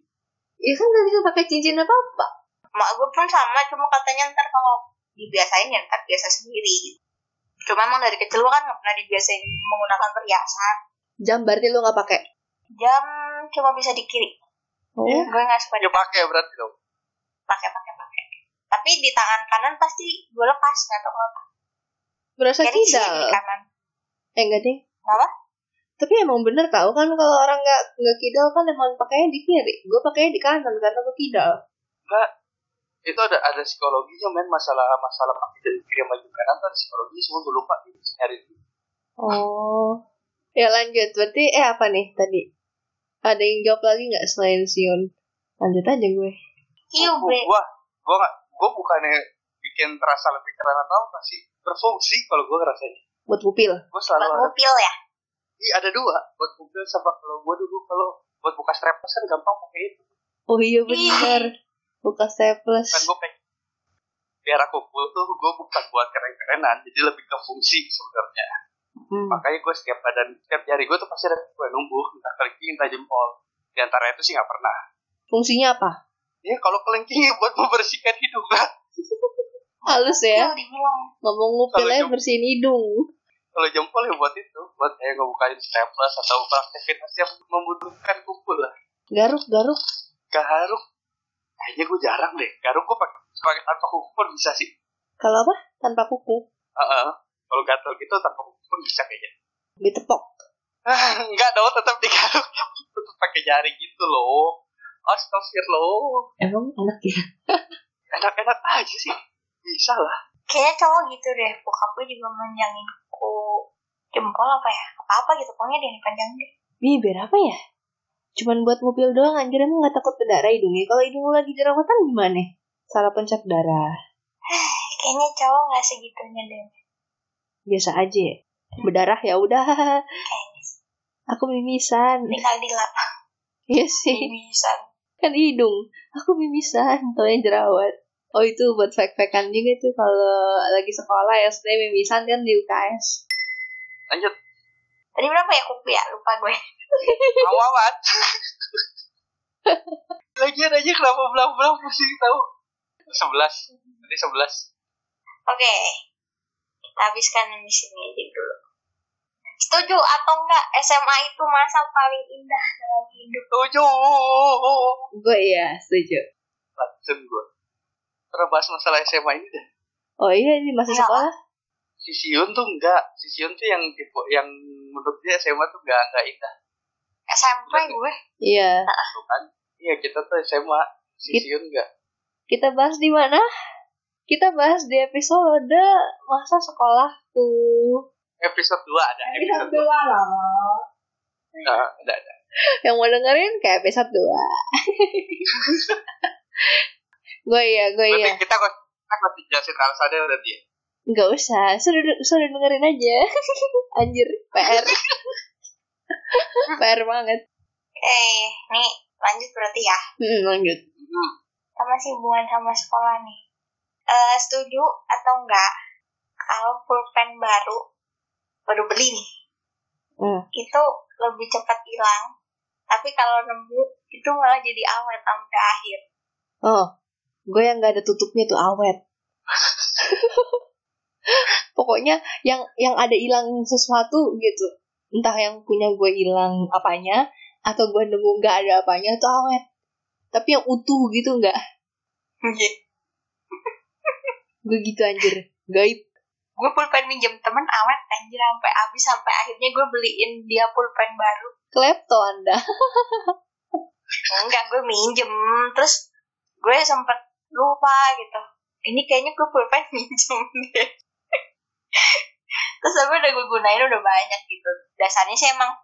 [SPEAKER 1] Ya kan gak bisa pakai cincin apa-apa.
[SPEAKER 3] mak gue pun sama cuma katanya ntar kalau dibiasain ya ntar biasa sendiri gitu. cuma emang dari kecil gue kan nggak pernah dibiasain menggunakan perhiasan
[SPEAKER 1] Jam berarti lu nggak pakai.
[SPEAKER 3] jam cuma bisa di kiri
[SPEAKER 1] Oh.
[SPEAKER 3] gue nggak suka
[SPEAKER 2] Ya pakai berarti dong.
[SPEAKER 3] dipakai pakai pakai tapi di tangan kanan pasti gue lepas kan, nggak tahu kenapa
[SPEAKER 1] Berasa
[SPEAKER 3] jadi sih di
[SPEAKER 1] kidal.
[SPEAKER 3] kanan
[SPEAKER 1] Eh enggak deh.
[SPEAKER 3] Apa?
[SPEAKER 1] Tapi emang bener tau kan kalau orang nggak nggak kidal kan emang pakainya di kiri. Gue pakainya di kanan karena gue kidal.
[SPEAKER 2] Itu ada ada psikologinya men masalah masalah pakai dan kiri maju kanan tuh ada psikologi semua gue lupa di hari itu.
[SPEAKER 1] Oh. Ya lanjut. Berarti eh apa nih tadi? Ada yang jawab lagi nggak selain Sion? Lanjut aja gue.
[SPEAKER 3] hiu
[SPEAKER 2] Gua Oh,
[SPEAKER 3] Iya, bre
[SPEAKER 2] gua gua, nggak- gua bukannya bikin terasa lebih keren atau apa sih berfungsi kalau gua ngerasain.
[SPEAKER 1] Buat pupil.
[SPEAKER 2] Gua
[SPEAKER 3] buat
[SPEAKER 2] selalu ada,
[SPEAKER 3] mobil ya
[SPEAKER 2] Ih, ada dua buat mobil sama kalau gua dulu kalau buat buka strapless kan gampang pakai itu
[SPEAKER 1] Oh iya benar. Buka staples.
[SPEAKER 2] kan gua pengen biar aku full tuh gua bukan buat keren-kerenan jadi lebih ke fungsi sebenarnya
[SPEAKER 1] Hmm.
[SPEAKER 2] makanya gue setiap badan setiap jari gue tuh pasti ada gue numbuh entah kelingking entah jempol di antara itu sih nggak pernah
[SPEAKER 1] Fungsinya apa?
[SPEAKER 2] ya kalau kelingking ya buat membersihkan Iya, hidung lah
[SPEAKER 1] Halus
[SPEAKER 3] hiu
[SPEAKER 1] ya.
[SPEAKER 3] dibilang
[SPEAKER 1] Ngomong ngupil
[SPEAKER 2] Kalau
[SPEAKER 1] aja
[SPEAKER 2] jam-
[SPEAKER 1] bersihin hidung.
[SPEAKER 2] kalau jempol ya buat itu buat kayak ngebukain staples atau beraktivitas yang membutuhkan kumpul lah
[SPEAKER 1] Garuk garuk.
[SPEAKER 2] garuk kayaknya gue jarang deh garuk gue pakai pakai tanpa kuku pun bisa sih
[SPEAKER 1] Kalau apa? Tanpa kuku.
[SPEAKER 2] Heeh. kalau gatel gitu tanpa kuku pun bisa kayaknya
[SPEAKER 1] Ditepok.
[SPEAKER 2] Ah, enggak dong tetap digaruk tetap pakai jari gitu loh Astagfirullah
[SPEAKER 1] Emang enak ya?
[SPEAKER 2] enak-enak aja sih bisa lah
[SPEAKER 3] kayaknya cowok gitu deh bokap gue juga menjangin ku jempol apa ya apa apa gitu pokoknya dia dipanjangin deh
[SPEAKER 1] Nih biar apa ya? Cuman buat ngupil doang anjir emang gak takut berdarah hidungnya. Kalau hidung lu lagi jerawatan gimana? Salah pencet darah.
[SPEAKER 3] Eh, kayaknya cowok nggak segitunya deh
[SPEAKER 1] Biasa aja ya. Berdarah ya udah. (laughs)
[SPEAKER 3] kayaknya
[SPEAKER 1] Aku mimisan.
[SPEAKER 3] tinggal dilap
[SPEAKER 1] Iya (laughs) sih.
[SPEAKER 3] bisa
[SPEAKER 1] Kan hidung. Aku mimisan. Taunya jerawat. Oh itu buat fake-fakean juga itu kalau lagi sekolah SD mimisan kan di UKS.
[SPEAKER 2] lanjut
[SPEAKER 3] Tadi berapa ya kuku ya? Lupa gue.
[SPEAKER 2] Awawan. (laughs) Lagian aja kenapa belang-belang pusing tahu? Sebelas. Tadi sebelas.
[SPEAKER 3] Oke. Kita habiskan di sini aja dulu. Setuju atau enggak SMA itu masa paling indah dalam hidup?
[SPEAKER 2] Tujuh.
[SPEAKER 1] Gue iya setuju.
[SPEAKER 2] Langsung gue. Terbahas masalah SMA ini dah.
[SPEAKER 1] Oh iya ini masa
[SPEAKER 3] Iya.
[SPEAKER 1] sekolah.
[SPEAKER 2] Si Siun tuh enggak. Si Siun tuh yang tipe yang menurut dia SMA tuh enggak enggak indah
[SPEAKER 3] SMP gue.
[SPEAKER 1] Iya.
[SPEAKER 2] tuh kan. Iya kita tuh SMA. Si
[SPEAKER 1] It-
[SPEAKER 2] Siun enggak.
[SPEAKER 1] Kita bahas di mana? Kita bahas di episode masa sekolahku.
[SPEAKER 2] Episode 2 ada. Episode
[SPEAKER 1] dua lah.
[SPEAKER 2] 2. Nah, ada ada.
[SPEAKER 1] Yang mau dengerin kayak episode dua. (laughs) gue iya, gue
[SPEAKER 2] Berarti
[SPEAKER 1] iya.
[SPEAKER 2] kita kan kok kita kok dijelasin alasannya berarti ya.
[SPEAKER 1] Nggak usah, sudah sudah dengerin aja. (laughs) Anjir, PR. PR banget.
[SPEAKER 3] Eh, nih lanjut berarti ya.
[SPEAKER 1] Hmm, lanjut.
[SPEAKER 2] Hmm.
[SPEAKER 3] Sama sih hubungan sama sekolah nih. eh, setuju atau enggak kalau pulpen baru baru beli nih
[SPEAKER 1] Hmm.
[SPEAKER 3] itu lebih cepat hilang tapi kalau nemu itu malah jadi awet sampai akhir
[SPEAKER 1] Oh, gue yang nggak ada tutupnya tuh awet. (laughs) Pokoknya yang yang ada hilang sesuatu gitu. Entah yang punya gue hilang apanya atau gue nemu nggak ada apanya tuh awet. Tapi yang utuh gitu nggak. Gue gitu anjir. Gaib.
[SPEAKER 3] gue pulpen minjem temen awet anjir sampai habis sampai akhirnya gue beliin dia pulpen baru
[SPEAKER 1] Klepto anda.
[SPEAKER 3] enggak gue minjem terus gue sempet lupa gitu ini kayaknya gue pulpen (laughs) minjem deh terus tapi udah gue gunain udah banyak gitu dasarnya sih emang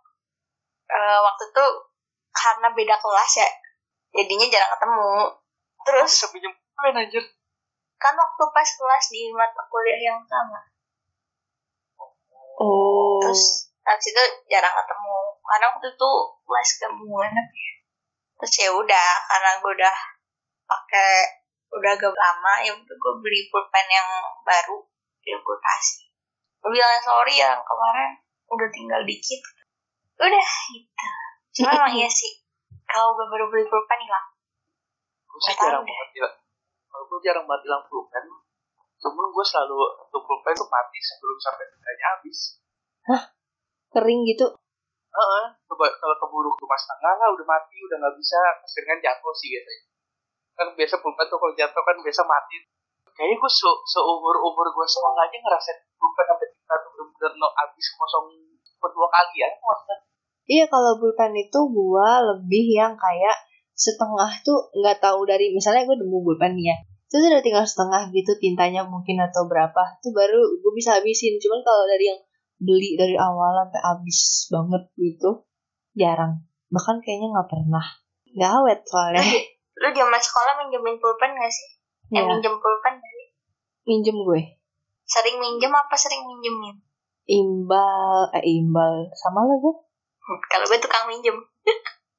[SPEAKER 3] eh, waktu itu karena beda kelas ya jadinya jarang ketemu terus
[SPEAKER 2] bisa pinjam pulpen anjir
[SPEAKER 3] kan waktu pas kelas di mata kuliah yang sama
[SPEAKER 1] Oh.
[SPEAKER 3] terus habis itu jarang ketemu karena waktu itu kelas gabungan kan. terus ya udah karena gue udah pakai udah agak lama ya udah gue beli pulpen yang baru ya gue kasih gue bilang sorry ya, yang kemarin udah tinggal dikit udah gitu cuma emang iya sih kalau gue baru beli pulpen hilang
[SPEAKER 2] gue sih
[SPEAKER 3] Nggak tahu
[SPEAKER 2] jarang
[SPEAKER 3] deh.
[SPEAKER 2] banget hilang kalau gue jarang banget hilang pulpen cuman gue selalu tuh pulpen tuh mati sebelum sampai beritanya habis
[SPEAKER 1] Kering gitu.
[SPEAKER 2] Heeh. coba kalau keburu ke pas tengah lah udah mati udah nggak bisa keseringan jatuh sih biasanya kan biasa pulpen tuh kalau jatuh kan biasa mati kayaknya gue se seumur umur gue sekolah aja ngerasain pulpen sampai kita tuh bener-bener no habis kosong berdua kali ya Maksudnya,
[SPEAKER 1] Iya kalau pulpen itu gua lebih yang kayak setengah tuh nggak tahu dari misalnya gue nemu pulpen nih ya terus udah tinggal setengah gitu tintanya mungkin atau berapa tuh baru gue bisa habisin cuman kalau dari yang beli dari awal sampai habis banget gitu jarang bahkan kayaknya nggak pernah nggak awet soalnya (laughs)
[SPEAKER 3] lu zaman sekolah minjemin pulpen gak sih
[SPEAKER 1] ya,
[SPEAKER 3] eh minjem pulpen gak sih?
[SPEAKER 1] minjem gue
[SPEAKER 3] sering minjem apa sering minjemin
[SPEAKER 1] imbal eh imbal sama lah gue
[SPEAKER 3] Hmm, kalau gue tukang minjem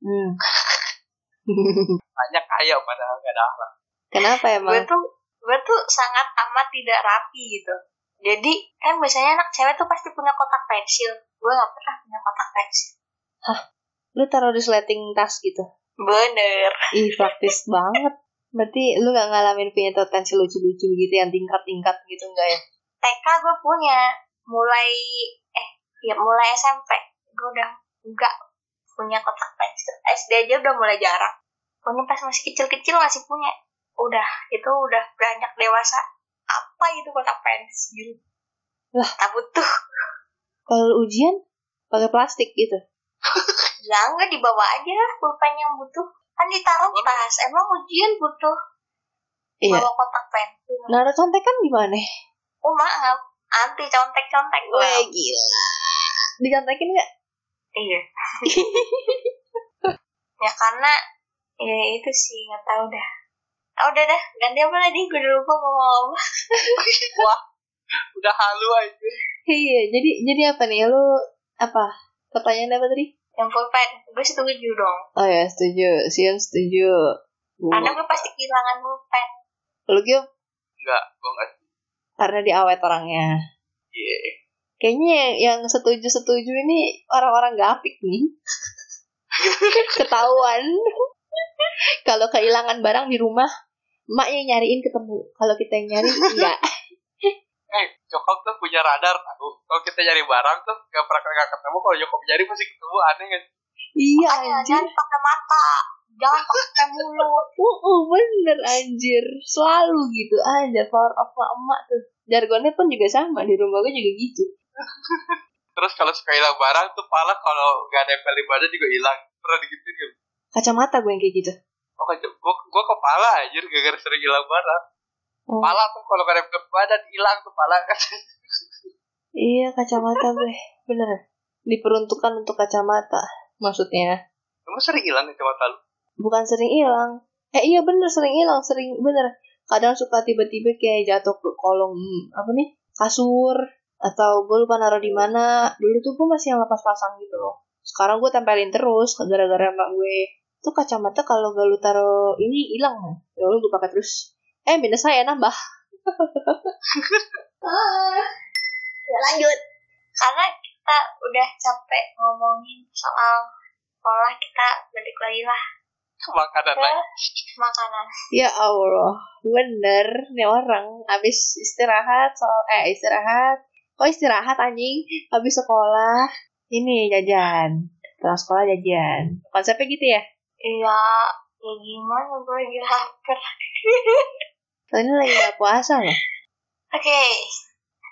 [SPEAKER 1] hmm. (laughs)
[SPEAKER 2] tanya kaya padahal gak ada akhlak
[SPEAKER 1] kenapa
[SPEAKER 3] gue
[SPEAKER 1] emang
[SPEAKER 3] tuh gue tuh sangat amat tidak rapi gitu jadi kan biasanya anak cewek tuh pasti punya kotak pensil gue gak pernah punya kotak pensil
[SPEAKER 1] lu taruh di sleting tas gitu
[SPEAKER 3] bener
[SPEAKER 1] Ih, praktis banget. Berarti lu gak ngalamin punya potensi lucu-lucu gitu yang tingkat-tingkat gitu enggak ya?
[SPEAKER 3] TK gue punya mulai eh ya mulai SMP gue udah nggak punya kotak pensil SD aja udah mulai jarang punya pas masih kecil-kecil masih punya udah itu udah beranjak dewasa apa itu kotak pensil
[SPEAKER 1] Lah.
[SPEAKER 3] takut tuh
[SPEAKER 1] Kalau ujian pakai plastik gitu.
[SPEAKER 3] Ya enggak dibawa aja lah pulpen yang butuh. Kan ditaruh tas. Emang ujian butuh
[SPEAKER 1] Iya.
[SPEAKER 3] bawa kotak pensil.
[SPEAKER 1] Naruh Nah, contekan gimana?
[SPEAKER 3] Oh maaf. Anti contek-contek gue.
[SPEAKER 1] Weh, gila. Dicontekin gak?
[SPEAKER 3] Iya.
[SPEAKER 1] (laughs)
[SPEAKER 3] ya karena ya itu sih nggak tahu dah. Oh, udah dah, ganti apa tadi? Gue udah lupa mau ngomong apa.
[SPEAKER 2] udah halu aja
[SPEAKER 1] Iya, jadi jadi apa nih? Lu apa? Pertanyaan apa tadi?
[SPEAKER 3] Yang pulpen, gue setuju dong.
[SPEAKER 1] Oh ya, setuju. Sian setuju.
[SPEAKER 3] Karena
[SPEAKER 1] Gua-
[SPEAKER 3] gue pasti kehilangan pulpen.
[SPEAKER 1] Lu Gil,
[SPEAKER 2] nggak gue nggak
[SPEAKER 1] karena diawet orangnya.
[SPEAKER 2] iya
[SPEAKER 1] Kayaknya yang yang setuju-setuju ini orang-orang gak apik nih. Ketahuan. Kalau kehilangan barang di rumah, emak yang nyariin ketemu. Kalau kita yang nyari, enggak.
[SPEAKER 2] eh Jokok tuh punya radar tahu kalau kita nyari barang tuh gak pernah nggak ketemu kalau Jokok nyari pasti ketemu aneh kan
[SPEAKER 1] iya,
[SPEAKER 3] Makanya
[SPEAKER 1] anjir.
[SPEAKER 3] jangan pakai mata. Jangan pakai mulut.
[SPEAKER 1] Uh, uh, bener, anjir. Selalu gitu. Anjir, power of emak tuh. Jargonnya pun juga sama. Di rumah gue juga gitu.
[SPEAKER 2] terus kalau suka hilang barang tuh pala kalau nggak nempel di badan juga hilang pernah digituin gak
[SPEAKER 1] Kacamata gue yang kayak gitu.
[SPEAKER 2] oh kan gua gua kepala anjir gara-gara sering hilang barang
[SPEAKER 1] Oh,
[SPEAKER 2] pala tuh kalau nggak nempel di badan hilang tuh pala kan (laughs)
[SPEAKER 1] iya, kacamata gue. Bener. Diperuntukkan untuk kacamata. Maksudnya.
[SPEAKER 2] emang sering hilang kacamata lu
[SPEAKER 1] bukan sering hilang eh iya bener sering hilang sering bener kadang suka tiba-tiba kayak jatuh ke kolong hmm, apa nih kasur atau gue lupa naruh di mana dulu tuh gue masih yang lepas pasang gitu loh sekarang gue tempelin terus gara-gara emak gue tuh kacamata kalau gak lu taruh ini hilang ya lu gue pakai terus eh minus saya nambah
[SPEAKER 3] Ah, ya lanjut karena kita udah capek ngomongin soal sekolah kita balik lagi lah
[SPEAKER 2] Makanan
[SPEAKER 3] ke
[SPEAKER 2] lagi.
[SPEAKER 3] makanan
[SPEAKER 1] Ya Allah, bener nih orang habis istirahat, so eh istirahat, kok istirahat anjing? Habis sekolah, ini jajan, pulang sekolah jajan. Konsepnya gitu ya?
[SPEAKER 3] iya ya gimana gue lagi lapar (laughs)
[SPEAKER 1] Soalnya lagi gak puasa loh.
[SPEAKER 3] Oke,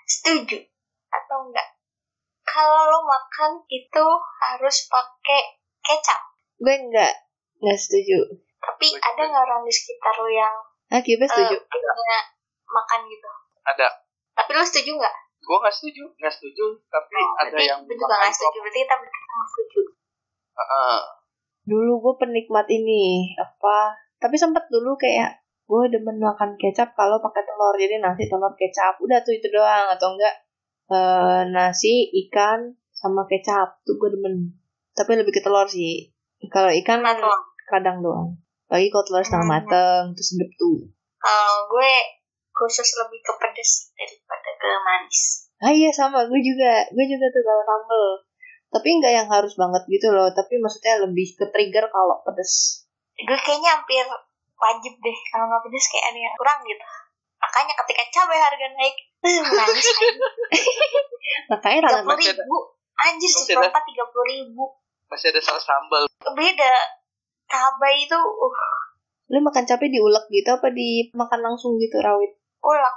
[SPEAKER 3] setuju atau enggak? Kalau lo makan itu harus pakai kecap.
[SPEAKER 1] Gue nggak nggak setuju.
[SPEAKER 3] Tapi ada nggak orang di sekitar lo yang
[SPEAKER 1] Ah, Kiba
[SPEAKER 3] eh,
[SPEAKER 1] setuju.
[SPEAKER 3] punya makan gitu?
[SPEAKER 2] Ada.
[SPEAKER 3] Tapi lo setuju nggak?
[SPEAKER 2] Gue nggak setuju, nggak setuju. Tapi ada
[SPEAKER 3] Oh, Berarti
[SPEAKER 2] yang
[SPEAKER 3] gue juga nggak setuju. Berarti kita berdua nggak setuju.
[SPEAKER 2] Heeh.
[SPEAKER 1] Dulu gue penikmat ini apa? Tapi sempet dulu kayak gue demen makan kecap kalau pakai telur jadi nasi telur kecap udah tuh itu doang atau enggak eh, nasi ikan sama kecap tuh gue demen tapi lebih ke telur sih kalau ikan
[SPEAKER 3] Nah, tuh,
[SPEAKER 1] kadang doang lagi kalau telur setengah
[SPEAKER 3] Hmm.
[SPEAKER 1] mateng terus sedep tuh
[SPEAKER 3] kalau Eh, gue khusus lebih ke pedes daripada ke manis.
[SPEAKER 1] Ah iya sama gue juga, gue juga tuh kalau sambel. Tapi nggak yang harus banget gitu loh. Tapi maksudnya lebih ke trigger kalau pedes. (laughs)
[SPEAKER 3] Gue kayaknya hampir wajib deh kalau nggak pedes kayak ada yang kurang gitu. Makanya ketika cabai harga naik, eh, manis kan
[SPEAKER 1] Makanya
[SPEAKER 3] tiga
[SPEAKER 1] tanam
[SPEAKER 3] puluh
[SPEAKER 2] masih ada-
[SPEAKER 3] ribu anjir
[SPEAKER 2] masih ada-
[SPEAKER 3] seperempat tiga puluh ribu
[SPEAKER 2] Masih ada saus sambal.
[SPEAKER 3] beda cabai itu uh,
[SPEAKER 1] lu makan cabai diulek gitu apa dimakan langsung gitu rawit?
[SPEAKER 3] ulek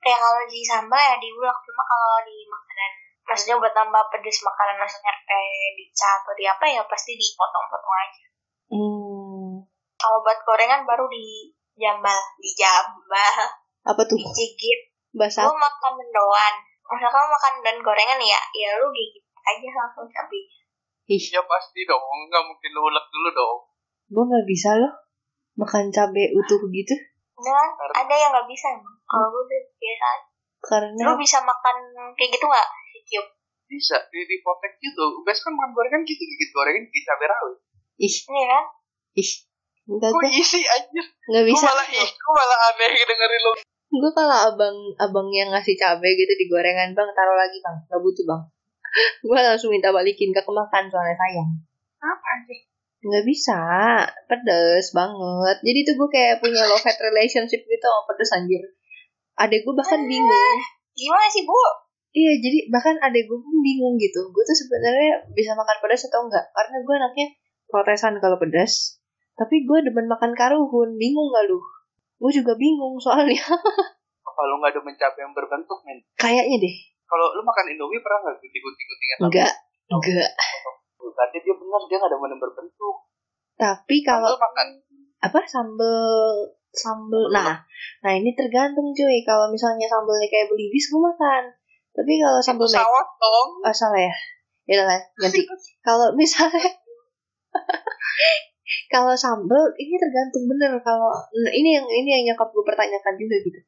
[SPEAKER 3] kayak kalau di sambal ya diulek cuma kalau di makanan maksudnya buat tambah pedes makanan maksudnya kayak dicat atau di apa ya pasti dipotong-potong aja
[SPEAKER 1] Hmm,
[SPEAKER 3] kalau buat gorengan baru di jambal di jambal
[SPEAKER 1] apa tuh?
[SPEAKER 3] digigit
[SPEAKER 1] Bahasa
[SPEAKER 3] lu gitu, makan mendoan masa kamu makan dan gorengan ya ya lu gigit aja langsung cabai
[SPEAKER 1] ih,
[SPEAKER 2] Ya pasti dong, nggak mungkin lu ulek dulu dong.
[SPEAKER 1] gue nggak bisa loh makan cabai utuh gitu
[SPEAKER 3] dan ada yang nggak bisa emang kalau gue udah biasa lu
[SPEAKER 1] karena
[SPEAKER 3] bisa makan kayak gitu nggak Cium.
[SPEAKER 2] Bisa, di dipotek gitu. Biasa kan makan gorengan gitu, gigit gorengan gigit cabai rawit.
[SPEAKER 1] ih
[SPEAKER 3] Ini kan
[SPEAKER 1] ih enggak
[SPEAKER 2] Gue
[SPEAKER 1] gue
[SPEAKER 2] isi anjir.
[SPEAKER 1] nggak
[SPEAKER 2] Gue
[SPEAKER 1] bisa.
[SPEAKER 2] malah ih, gue malah aneh dengerin lu.
[SPEAKER 1] Gue kalau abang abang yang ngasih cabai gitu di gorengan bang taruh lagi bang, nggak butuh bang. (laughs) gue langsung minta balikin ke kemakan soalnya sayang.
[SPEAKER 2] Apa anjir?
[SPEAKER 1] nggak bisa pedes banget jadi tuh gue kayak punya love hate relationship gitu sama pedes anjir adek gue bahkan bingung
[SPEAKER 3] Gimana sih bu?
[SPEAKER 1] iya jadi bahkan adek gue pun bingung gitu gue tuh sebenarnya bisa makan pedas atau enggak karena gue anaknya protesan kalau pedas tapi gue demen makan karuhun bingung gak lu gue juga bingung soalnya (laughs)
[SPEAKER 2] Apa lu nggak ada mencapai yang berbentuk men?
[SPEAKER 1] kayaknya deh
[SPEAKER 2] Kalau lu makan indomie pernah nggak gunting-guntingan?
[SPEAKER 1] enggak enggak
[SPEAKER 2] Berarti dia benar dia nggak ada yang berbentuk.
[SPEAKER 1] tapi kalau
[SPEAKER 2] Lu makan
[SPEAKER 1] apa sambel sambel nah nah ini tergantung cuy kalau misalnya sambelnya kayak belibis gue makan tapi kalau sambel mac
[SPEAKER 2] pesawat dong.
[SPEAKER 1] Oh, salah ya. Ya udah lah, ganti. Kalau misalnya (laughs) kalau sambel ini tergantung bener kalau nah, ini yang ini yang nyokap gue pertanyakan juga gitu.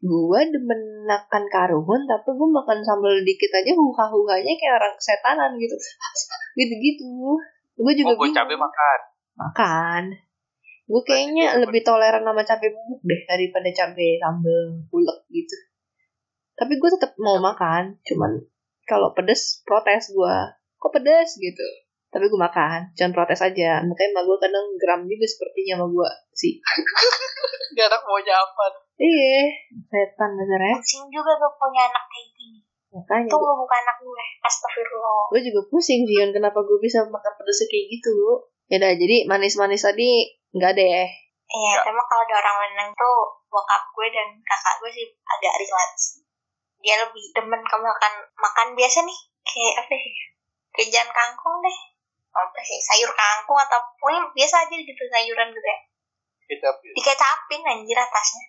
[SPEAKER 1] Gue demen makan karuhun tapi gue makan sambel dikit aja huha-huhanya kayak orang kesetanan gitu. (laughs) Gitu-gitu. Gue juga
[SPEAKER 2] Mau gue
[SPEAKER 1] bingung.
[SPEAKER 2] Oh, cabai makan.
[SPEAKER 1] makan. Gue kayaknya
[SPEAKER 2] Berarti dia
[SPEAKER 1] lebih toleran sama cabai bubuk deh daripada cabai sambel ulek gitu. Tapi gue tetap mau makan, cuman kalau pedes protes gue. Kok pedes gitu? Tapi gue makan, jangan protes aja. Makanya emak gue kadang geram juga sepertinya sama gue sih.
[SPEAKER 2] Dia anak maunya apa?
[SPEAKER 1] Iya, setan bener ya.
[SPEAKER 3] Pusing juga gue punya anak kayak gini.
[SPEAKER 1] Makanya
[SPEAKER 3] Itu lu bukan anak gue. Astagfirullah.
[SPEAKER 1] gue juga pusing Zion kenapa gue bisa makan pedesnya kayak gitu. Ya udah, jadi manis-manis tadi nggak deh.
[SPEAKER 3] Iya,
[SPEAKER 2] Ya.
[SPEAKER 3] cuma kalau ada orang menang tuh bokap gue dan kakak gue sih agak relax. Dia lebih demen ke makan makan biasa nih. Kayak apa sih? Kejan kangkung deh. Oh, Apa sih? Sayur kangkung atau pokoknya biasa aja gitu sayuran gitu ya.
[SPEAKER 2] Kecap.
[SPEAKER 3] Dikecapin anjir atasnya.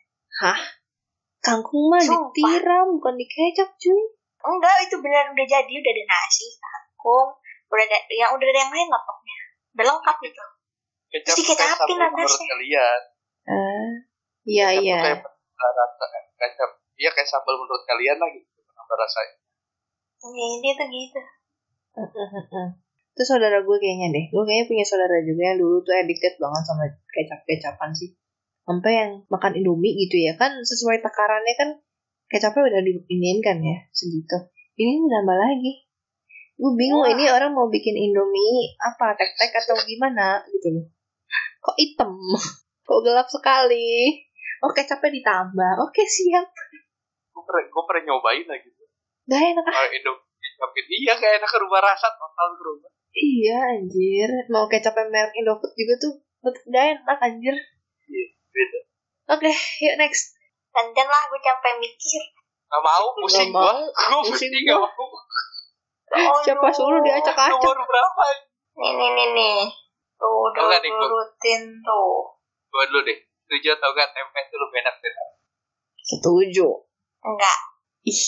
[SPEAKER 1] Kangkung mah
[SPEAKER 3] Sumpah.
[SPEAKER 1] ditiram, bukan dikecap cuy.
[SPEAKER 3] Enggak, itu beneran udah jadi, udah ada nasi, kangkung, udah ada yang udah ada yang lain lah pokoknya. Udah lengkap gitu.
[SPEAKER 2] Kecap
[SPEAKER 3] Terus dikecapin
[SPEAKER 2] kayak sambal
[SPEAKER 3] atasnya.
[SPEAKER 2] menurut kalian.
[SPEAKER 1] Ah, iya
[SPEAKER 2] Kecap tuh
[SPEAKER 1] iya.
[SPEAKER 2] kayak penambah rasa kan. Kecap. Iya kayak sambal menurut kalian lagi. Penambah rasanya.
[SPEAKER 3] Ya, dia tuh gitu.
[SPEAKER 1] Itu saudara gue kayaknya deh. Gue kayaknya punya saudara juga yang dulu tuh addicted banget sama kecap-kecapan sih. sampai yang makan indomie gitu ya kan sesuai takarannya kan kecapnya udah diinin kan ya segitu ini nambah lagi gue bingung ini orang mau bikin indomie apa tek-tek atau gimana gitu loh kok hitam (laughs) kok gelap sekali oh kecapnya ditambah oke siap
[SPEAKER 2] gue pernah gue pernah nyobain lagi gitu.
[SPEAKER 1] gak enak ah.
[SPEAKER 2] Kalau Indo- Indomie iya gak enak berubah rasa total berubah
[SPEAKER 1] iya anjir mau kecapnya merek Indofood juga tuh tetep gak enak anjir
[SPEAKER 2] Iya, beda
[SPEAKER 1] oke yuk next
[SPEAKER 3] Dandan lah gue sampai mikir.
[SPEAKER 2] gak mau pusing
[SPEAKER 1] Gak
[SPEAKER 2] gue
[SPEAKER 1] mau,
[SPEAKER 2] gue
[SPEAKER 1] pusing
[SPEAKER 2] pusing
[SPEAKER 1] gua.
[SPEAKER 2] gak mau
[SPEAKER 3] Oh,
[SPEAKER 1] (laughs) siapa
[SPEAKER 3] no.
[SPEAKER 1] suruh diacak-acak
[SPEAKER 2] nomor berapa
[SPEAKER 3] Nih, nih, nih, nih. Tuh, udah
[SPEAKER 2] Enggak, nih, gua-
[SPEAKER 3] rutin tuh.
[SPEAKER 2] gue dulu deh setuju atau gak tempe itu lebih enak deh
[SPEAKER 1] setuju
[SPEAKER 3] Enggak.
[SPEAKER 1] ih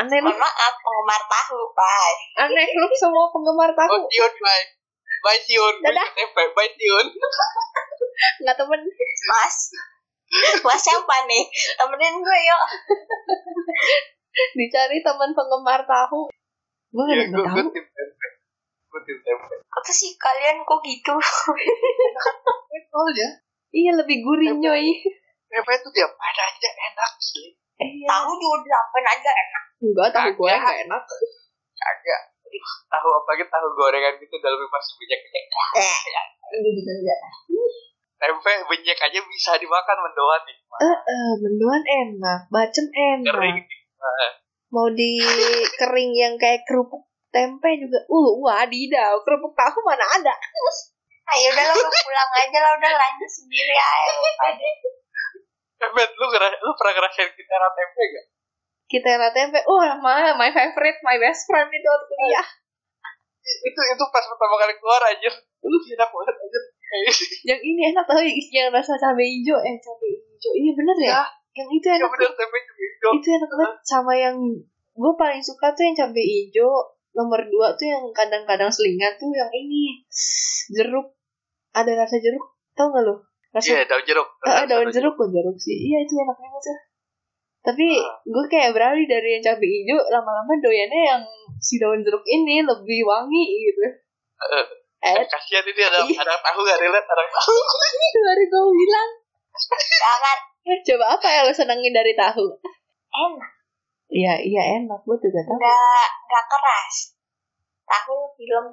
[SPEAKER 1] aneh lu
[SPEAKER 3] Mohon maaf, penggemar tahu, Pak.
[SPEAKER 1] aneh lu semua penggemar
[SPEAKER 2] oh
[SPEAKER 1] tahu
[SPEAKER 2] Tion bye bye Tion Gua
[SPEAKER 1] Dadah.
[SPEAKER 2] ikut tempe bye Tion
[SPEAKER 1] nggak temen
[SPEAKER 3] Mas. (laughs) Mas siapa nih? Temenin gue yuk.
[SPEAKER 1] dicari teman penggemar tahu gue
[SPEAKER 2] Ya,
[SPEAKER 1] nggak
[SPEAKER 2] gua-
[SPEAKER 1] tahu
[SPEAKER 2] gua tim tempe gue tim tempe
[SPEAKER 3] Apa sih kalian kok gitu?
[SPEAKER 1] Oh ya? Iya lebih gurih nyoy.
[SPEAKER 2] tempe itu tiap ada aja enak sih
[SPEAKER 1] Eh, iya.
[SPEAKER 3] Tahu juga dilakuin aja enak.
[SPEAKER 1] Enggak tahu gue
[SPEAKER 2] Kagak.
[SPEAKER 1] nggak enak.
[SPEAKER 2] kagak tahu apalagi tahu gorengan gitu dalamnya pasti minyak minyak
[SPEAKER 3] Eh,
[SPEAKER 2] tempe minyak aja bisa dimakan mendoan nih
[SPEAKER 1] Eh, mendoan enak, bacem enak.
[SPEAKER 2] kering Nah,
[SPEAKER 1] Mau di kering yang kayak kerupuk tempe juga. Uh, wadidaw, kerupuk tahu mana ada.
[SPEAKER 3] ayo udah lo ya pulang aja lah udah lanjut sendiri ayo. Aduh.
[SPEAKER 2] Bet, lu, ngera- lu pernah ngerasain kita tempe gak?
[SPEAKER 1] Kita enak tempe, wah mah, my favorite, my best friend itu waktu
[SPEAKER 2] Iya.
[SPEAKER 1] kuliah.
[SPEAKER 2] itu itu pas pertama kali keluar aja lu enak banget aja
[SPEAKER 1] Yang ini enak tau ya, yang rasa cabe hijau, eh cabe hijau. Iya bener ya?
[SPEAKER 2] Ya.
[SPEAKER 1] Yang itu
[SPEAKER 2] ya
[SPEAKER 1] enak.
[SPEAKER 2] bener tempe hijau
[SPEAKER 1] itu enak banget sama yang gue paling suka tuh yang cabai hijau nomor dua tuh yang kadang-kadang selingan tuh yang ini jeruk ada rasa jeruk tau gak lo rasa
[SPEAKER 2] iya daun jeruk
[SPEAKER 1] Ah, daun jeruk pun jeruk sih iya itu enak banget tuh tapi
[SPEAKER 2] Ah.
[SPEAKER 1] gue kayak beralih dari yang cabai hijau lama-lama doyannya yang si daun jeruk ini lebih wangi gitu (laughs)
[SPEAKER 2] Heeh.
[SPEAKER 1] eh
[SPEAKER 2] Eh, kasihan ini ada
[SPEAKER 1] Iya.
[SPEAKER 2] ada tahu gak relate ada tahu
[SPEAKER 1] baru gue bilang "Eh,
[SPEAKER 3] Jangan Eh,
[SPEAKER 1] coba apa yang lo senengin dari tahu
[SPEAKER 3] enak.
[SPEAKER 1] iya iya enak gue juga tahu
[SPEAKER 3] Enggak, enggak keras. Tahu film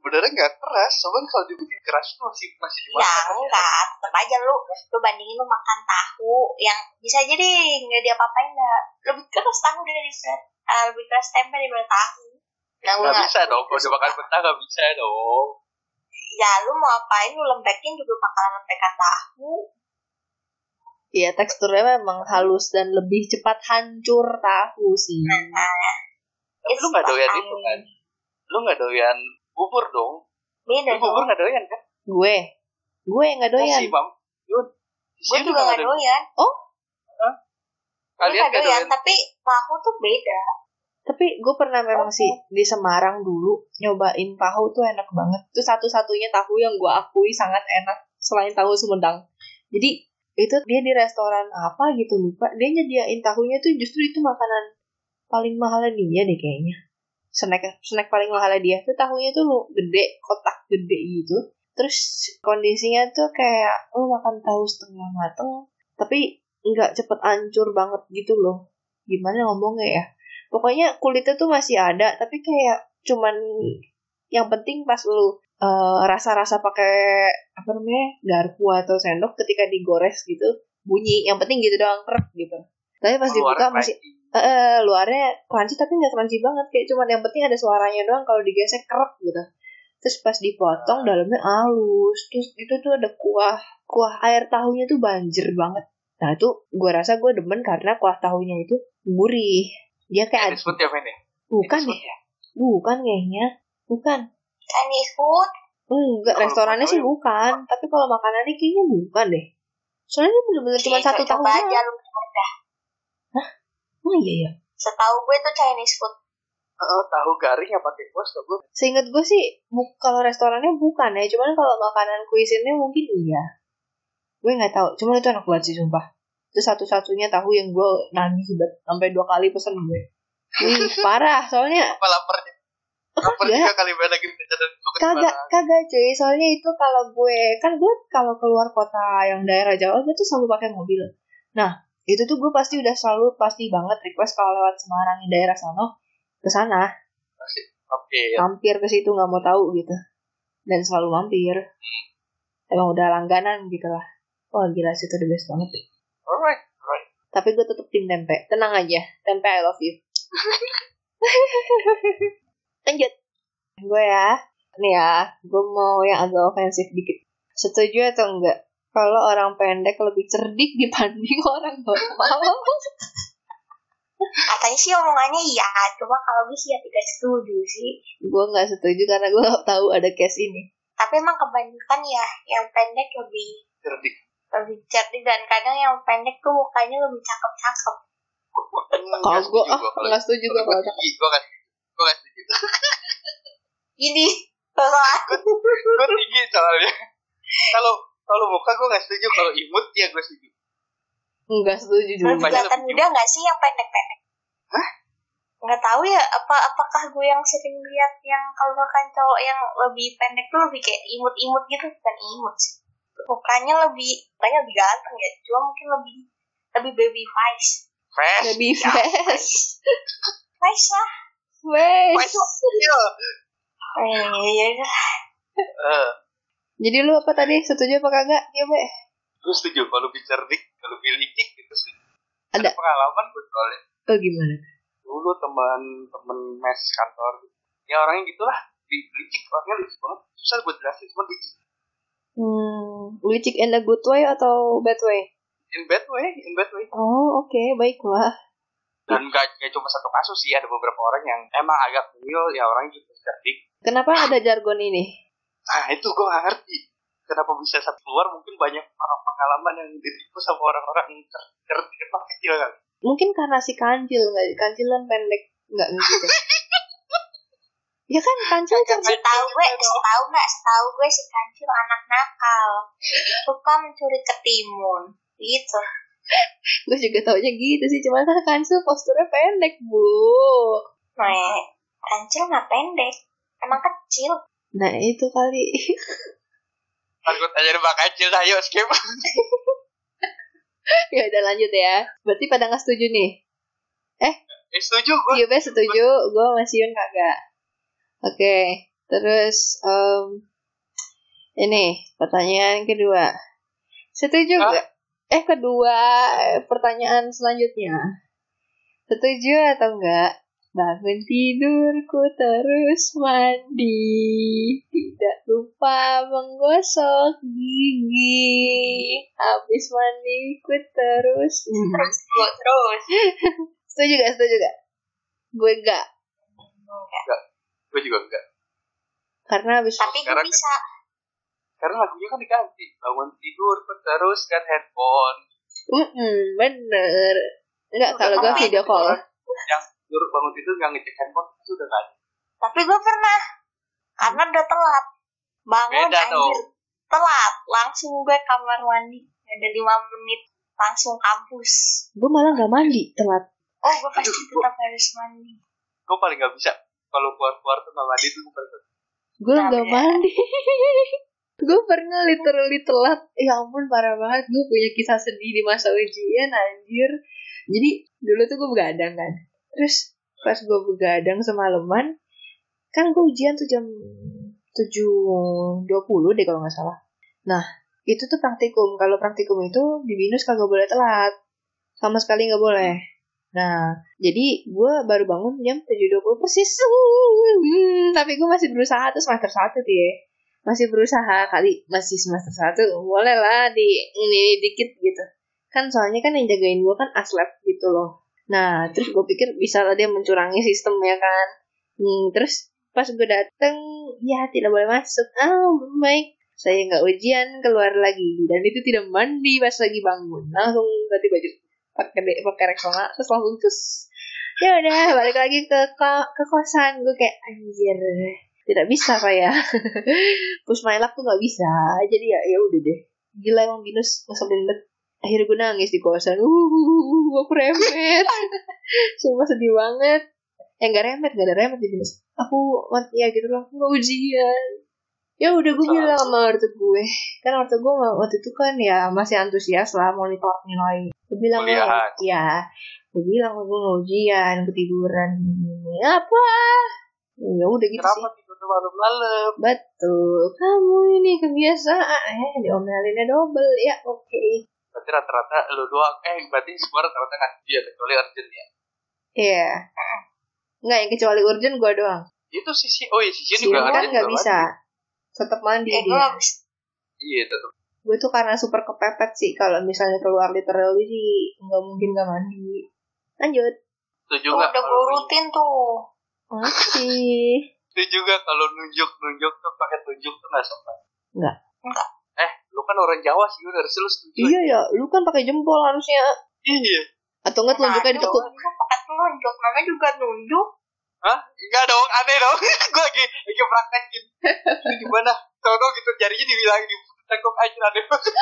[SPEAKER 2] sebenarnya nggak keras cuman kalau dibikin keras tuh masih masih
[SPEAKER 3] Ya
[SPEAKER 2] dimakan
[SPEAKER 3] enggak, tetap aja lu lu bandingin lu makan tahu yang bisa jadi nggak dia apain dah. Lebih keras tahu dari eh, lebih keras tempe daripada tahu. Nah, gua
[SPEAKER 2] nggak bisa dong kalau dimakan mentah nggak bisa dong
[SPEAKER 3] Ya lu mau apain lu lempekin juga bakalan lempekan tahu.
[SPEAKER 1] Iya teksturnya memang halus dan lebih cepat hancur tahu sih.
[SPEAKER 2] tapi lu nggak doyan itu kan lu nggak doyan bubur dong lu bubur
[SPEAKER 3] Beda Iya, dong.
[SPEAKER 2] nggak doyan kan
[SPEAKER 1] Gue, gue yang nggak doyan.
[SPEAKER 2] si mam Yun
[SPEAKER 3] Gue juga nggak doyan. Gue
[SPEAKER 2] kalian
[SPEAKER 3] nggak
[SPEAKER 2] nggak
[SPEAKER 3] doyan,
[SPEAKER 2] doyan
[SPEAKER 3] tapi tahu tuh beda.
[SPEAKER 1] Tapi gue pernah memang sih di Semarang dulu nyobain tahu tuh enak banget. Itu satu-satunya tahu yang gue akui sangat enak selain tahu Sumedang. Jadi itu dia di restoran apa gitu lupa. Dia nyediain tahunya tuh justru itu makanan paling mahalnya dia deh kayaknya. Snack snack paling mahalnya dia tuh tahunya tuh lu gede kotak gede gitu. Terus kondisinya tuh kayak lu makan tahu setengah mateng tapi nggak cepet hancur banget gitu loh. Gimana ngomongnya ya? pokoknya kulitnya tuh masih ada tapi kayak cuman yang penting pas lu eh, rasa-rasa pakai apa namanya garpu atau sendok ketika digores gitu bunyi yang penting gitu doang krek gitu tapi pas dibuka masih eh, eh, luarnya crunchy tapi nggak crunchy banget kayak cuman yang penting ada suaranya doang kalau digesek krek gitu terus pas
[SPEAKER 3] Ah.
[SPEAKER 1] dipotong dalamnya halus terus itu tuh ada kuah kuah air tahunya tuh banjir banget nah itu gue rasa gue demen karena kuah tahunya itu gurih dia kayak
[SPEAKER 2] disebut ya men ya
[SPEAKER 1] Bukan
[SPEAKER 2] Ini
[SPEAKER 1] deh,
[SPEAKER 2] sebutnya.
[SPEAKER 1] bukan kayaknya. Bukan.
[SPEAKER 3] Kan ikut
[SPEAKER 1] Enggak,
[SPEAKER 2] Kalau
[SPEAKER 1] restorannya sih
[SPEAKER 2] makanan-
[SPEAKER 1] bukan. Tapi kalau makanannya kayaknya bukan deh. Soalnya dia bener-bener cuma
[SPEAKER 3] Iya,
[SPEAKER 1] satu tahun
[SPEAKER 3] coba aja
[SPEAKER 1] doang.
[SPEAKER 3] lu.
[SPEAKER 1] Oh iya ya.
[SPEAKER 3] Setahu gue tuh Chinese food.
[SPEAKER 2] Eh, tahu garing yang pakai kuas tuh gue
[SPEAKER 1] Seingat gue sih, bu- kalau restorannya bukan ya. Cuman kalau makanan kuisinnya mungkin iya. Gue nggak tahu. Cuman itu enak banget sih, sumpah. Itu satu-satunya tahu yang gue nangis banget. Sampai dua kali pesen gue. Ih, parah. Soalnya
[SPEAKER 2] apa laparnya Kapan
[SPEAKER 1] Enggak.
[SPEAKER 2] tiga kali balik lagi belajar dan tugas
[SPEAKER 1] Kagak,
[SPEAKER 2] bareng?
[SPEAKER 1] kagak cuy. Soalnya itu kalau gue kan gue kalau keluar kota yang daerah Jawa gue tuh selalu pakai mobil. Nah, itu tuh gue pasti udah selalu pasti banget request kalau lewat Semarang yang daerah sono ke sana,
[SPEAKER 2] Pasti. Oke.
[SPEAKER 1] mampir ke situ nggak mau tahu gitu. Dan selalu mampir. Emang udah langganan gitu lah. Wah gila sih itu the best banget.
[SPEAKER 2] Alright.
[SPEAKER 1] Tapi gue tetep tim tempe. Tenang aja. Tempe I love you. (laughs) Lanjut. Gue ya. Nih ya. Gue mau yang agak ofensif dikit. Setuju atau enggak? Kalau orang pendek lebih cerdik dibanding (laughs) orang normal.
[SPEAKER 3] Katanya sih omongannya iya, cuma kalau gue sih ya tidak setuju sih.
[SPEAKER 1] gue nggak setuju karena gue tahu ada case ini.
[SPEAKER 3] Tapi emang kebanyakan ya, yang pendek lebih
[SPEAKER 2] Cerdik.
[SPEAKER 3] lebih cerdik dan kadang yang pendek tuh mukanya lebih cakep-cakep.
[SPEAKER 1] Kalau gue,
[SPEAKER 2] Nggak setuju
[SPEAKER 1] ah
[SPEAKER 2] gua kalau-
[SPEAKER 1] nggak setuju gue
[SPEAKER 2] kalau
[SPEAKER 1] kalau
[SPEAKER 2] tinggi. Gue nggak Gue nggak setuju.
[SPEAKER 3] Gini, (laughs) soalnya
[SPEAKER 2] Gue tinggi soalnya. Kalau kalau muka gue nggak setuju. Kalau imut ya gue setuju.
[SPEAKER 1] nggak setuju
[SPEAKER 3] lu
[SPEAKER 1] juga.
[SPEAKER 2] Iya, Banyak
[SPEAKER 3] kelihatan
[SPEAKER 2] lebih
[SPEAKER 3] muda nggak sih yang pendek-pendek?
[SPEAKER 2] Hah?
[SPEAKER 3] Nggak tahu ya, apa apakah gue yang sering lihat yang kalau kan cowok yang lebih pendek tuh lebih kayak imut-imut gitu, bukan imut sih. Mukanya lebih, mukanya lebih ganteng ya, cuma mungkin lebih lebih baby face.
[SPEAKER 2] Fresh.
[SPEAKER 1] Lebih Iya, fresh,
[SPEAKER 3] Face lah.
[SPEAKER 1] fresh.
[SPEAKER 2] Iya.
[SPEAKER 3] Eh,
[SPEAKER 2] Oh.
[SPEAKER 3] ya udah.
[SPEAKER 2] Eh,
[SPEAKER 1] Jadi lu apa tadi? Setuju apa kagak? Ya, Be.
[SPEAKER 2] Gue setuju. Kalau lebih cerdik, kalau lebih licik gitu setuju.
[SPEAKER 1] Ada.
[SPEAKER 2] pengalaman gue soalnya.
[SPEAKER 1] Oh gimana?
[SPEAKER 2] dulu teman-teman mes kantor ya orangnya gitulah Li- licik orangnya licik banget susah buat jelasin cuma licik
[SPEAKER 1] Hmm, licik in a good way atau bad way?
[SPEAKER 2] in bad way in bad way
[SPEAKER 1] Oh, oke, baiklah.
[SPEAKER 2] dan gak, gak cuma satu kasus sih ada beberapa orang yang emang agak mungil ya orang gitu cerdik
[SPEAKER 1] Kenapa ada jargon ini?
[SPEAKER 2] nah itu gue gak ngerti kenapa bisa satu keluar mungkin banyak orang pengalaman yang ditipu sama orang-orang cer- cerdik emang kecil kan
[SPEAKER 1] Mungkin karena si kancil, nggak kancilan pendek, nggak gitu. ya kan kancil cerdik.
[SPEAKER 3] Setahu gue, setahu nggak, setahu gue si kancil anak nakal, suka mencuri ketimun, gitu.
[SPEAKER 1] Gue juga taunya gitu sih, cuman kan kancil posturnya pendek, Bu.
[SPEAKER 3] Nah, kancil nggak pendek, emang kecil.
[SPEAKER 1] Nah, itu kali. (laughs)
[SPEAKER 2] takut aja mbak kecil dah yuk skip
[SPEAKER 1] ya udah lanjut ya. Berarti pada nggak setuju nih.
[SPEAKER 2] (laughs) eh setuju gue
[SPEAKER 1] Iya, Be, setuju. Gue masih Yun kagak. Oke, terus em, ini pertanyaan kedua. Setuju
[SPEAKER 2] Hah?
[SPEAKER 1] nggak? Eh, kedua eh, pertanyaan selanjutnya. Setuju atau enggak? Bangun tidurku terus mandi. Tidak lupa menggosok gigi. Habis mandi ku terus
[SPEAKER 2] Hmm.
[SPEAKER 1] Hmm.
[SPEAKER 3] Terus, gue terus.
[SPEAKER 1] Setuju gak? Setuju gak? Gue gak.
[SPEAKER 2] Hmm. gue juga enggak
[SPEAKER 1] Karena abis
[SPEAKER 3] Tapi gue
[SPEAKER 2] Sekarang-
[SPEAKER 3] bisa,
[SPEAKER 2] karena lagunya kan diganti bangun tidur terus kan headphone
[SPEAKER 1] Mm-mm, bener. Enggak, kalau gitu ya. gue
[SPEAKER 3] Apa?
[SPEAKER 1] video call.
[SPEAKER 2] yang tidur bangun tidur nggak ngecek handphone itu udah nggak ada.
[SPEAKER 3] tapi gue pernah, karena udah telat. Bangun
[SPEAKER 2] Beda
[SPEAKER 3] anjir,
[SPEAKER 2] dong.
[SPEAKER 3] telat. Langsung gue kamar mandi, ada lima menit, langsung kampus.
[SPEAKER 1] Gue malah gak mandi telat.
[SPEAKER 3] Oh, gue pasti
[SPEAKER 2] Aduh,
[SPEAKER 3] tetap harus mandi. Eh,
[SPEAKER 2] Gue paling nggak bisa kalau keluar keluar tuh nggak mandi tuh gue paling nggak bisa.
[SPEAKER 1] Gue
[SPEAKER 3] Nah,
[SPEAKER 1] gak
[SPEAKER 3] ya.
[SPEAKER 1] mandi. gue pernah literally telat. Ya ampun, parah banget. Gue punya kisah sedih di masa ujian, anjir. Jadi, dulu tuh gue begadang kan. Terus, pas gue begadang semalaman, kan gue ujian tuh jam 7.20 deh kalau nggak salah. Nah, itu tuh praktikum. Kalau praktikum itu di BINUS kagak boleh telat. Sama sekali nggak boleh. Nah, jadi gue baru bangun jam 7.20 persis. Hmm, tapi gue masih berusaha terus semester 1 tuh ya. Masih berusaha kali masih semester 1 boleh lah di ini dikit gitu. Kan soalnya kan yang jagain gue kan aslab gitu loh. Nah, terus gue pikir bisa lah dia mencurangi sistem ya kan. Hmm, terus pas gue dateng, ya tidak boleh masuk. Ah, baik. Saya nggak ujian, keluar lagi. Dan itu tidak mandi pas lagi bangun. Langsung ganti baju pakai de- pakai reksona terus langsung terus ya udah balik lagi ke ko- ke kosan gue kayak anjir tidak bisa saya (laughs) push my luck tuh nggak bisa jadi ya ya udah deh gila emang binus ngeselin banget akhirnya gue uh, (laughs) nangis di kosan uh gue premet cuma sedih banget ya nggak remet nggak ada remet di sini aku mati ya gitu loh aku nggak ujian ya udah gue bilang sama ortu gue kan ortu gue wa- waktu itu kan ya masih antusias lah monitor nilai gue bilang
[SPEAKER 2] Kuliah.
[SPEAKER 1] "Wah, ya gue bilang gue nggak ujian ketiduran gini apa ya udah gitu sih
[SPEAKER 2] Kenapa tidur malam-malam?
[SPEAKER 1] betul kamu ini kebiasaan eh diomelinnya double ya oke
[SPEAKER 2] Berarti rata-rata lu doang. Eh, berarti semua rata-rata nggak setuju ya, kecuali urgent ya.
[SPEAKER 1] Iya. Enggak, yang kecuali urgent gue doang.
[SPEAKER 2] Itu sisi, oh iya sisi
[SPEAKER 1] Si
[SPEAKER 2] juga kan? Iya,
[SPEAKER 1] kan
[SPEAKER 2] urgent
[SPEAKER 1] nggak
[SPEAKER 2] doang.
[SPEAKER 1] bisa. Tetap mandi
[SPEAKER 3] Eh, gue
[SPEAKER 1] dia.
[SPEAKER 3] gak bisa.
[SPEAKER 2] Iya, tetap.
[SPEAKER 1] Gue tuh karena super kepepet sih. Kalau misalnya keluar literally sih nggak mungkin nggak mandi. Lanjut.
[SPEAKER 2] Setuju
[SPEAKER 3] Tuh,
[SPEAKER 2] nggak?
[SPEAKER 3] udah
[SPEAKER 2] kalau
[SPEAKER 3] gue rutin tuh.
[SPEAKER 1] Masih.
[SPEAKER 2] Itu juga kalau nunjuk-nunjuk tuh pakai tunjuk tuh nggak sopan.
[SPEAKER 1] Nggak.
[SPEAKER 3] Nggak.
[SPEAKER 2] Eh, lu kan orang Jawa sih, udah harusnya lu setuju.
[SPEAKER 1] iya ya, lu kan pakai jempol harusnya.
[SPEAKER 2] Iya.
[SPEAKER 1] Atau enggak telunjuknya
[SPEAKER 3] Aduh,
[SPEAKER 1] ditekuk.
[SPEAKER 3] Gue pakai telunjuk, namanya juga nunduk.
[SPEAKER 2] Hah? Enggak dong, aneh dong. (laughs) gue lagi lagi praktekin. Ini gimana? Tahu gitu jarinya dibilang di tekuk aja
[SPEAKER 1] (laughs)
[SPEAKER 2] aneh banget.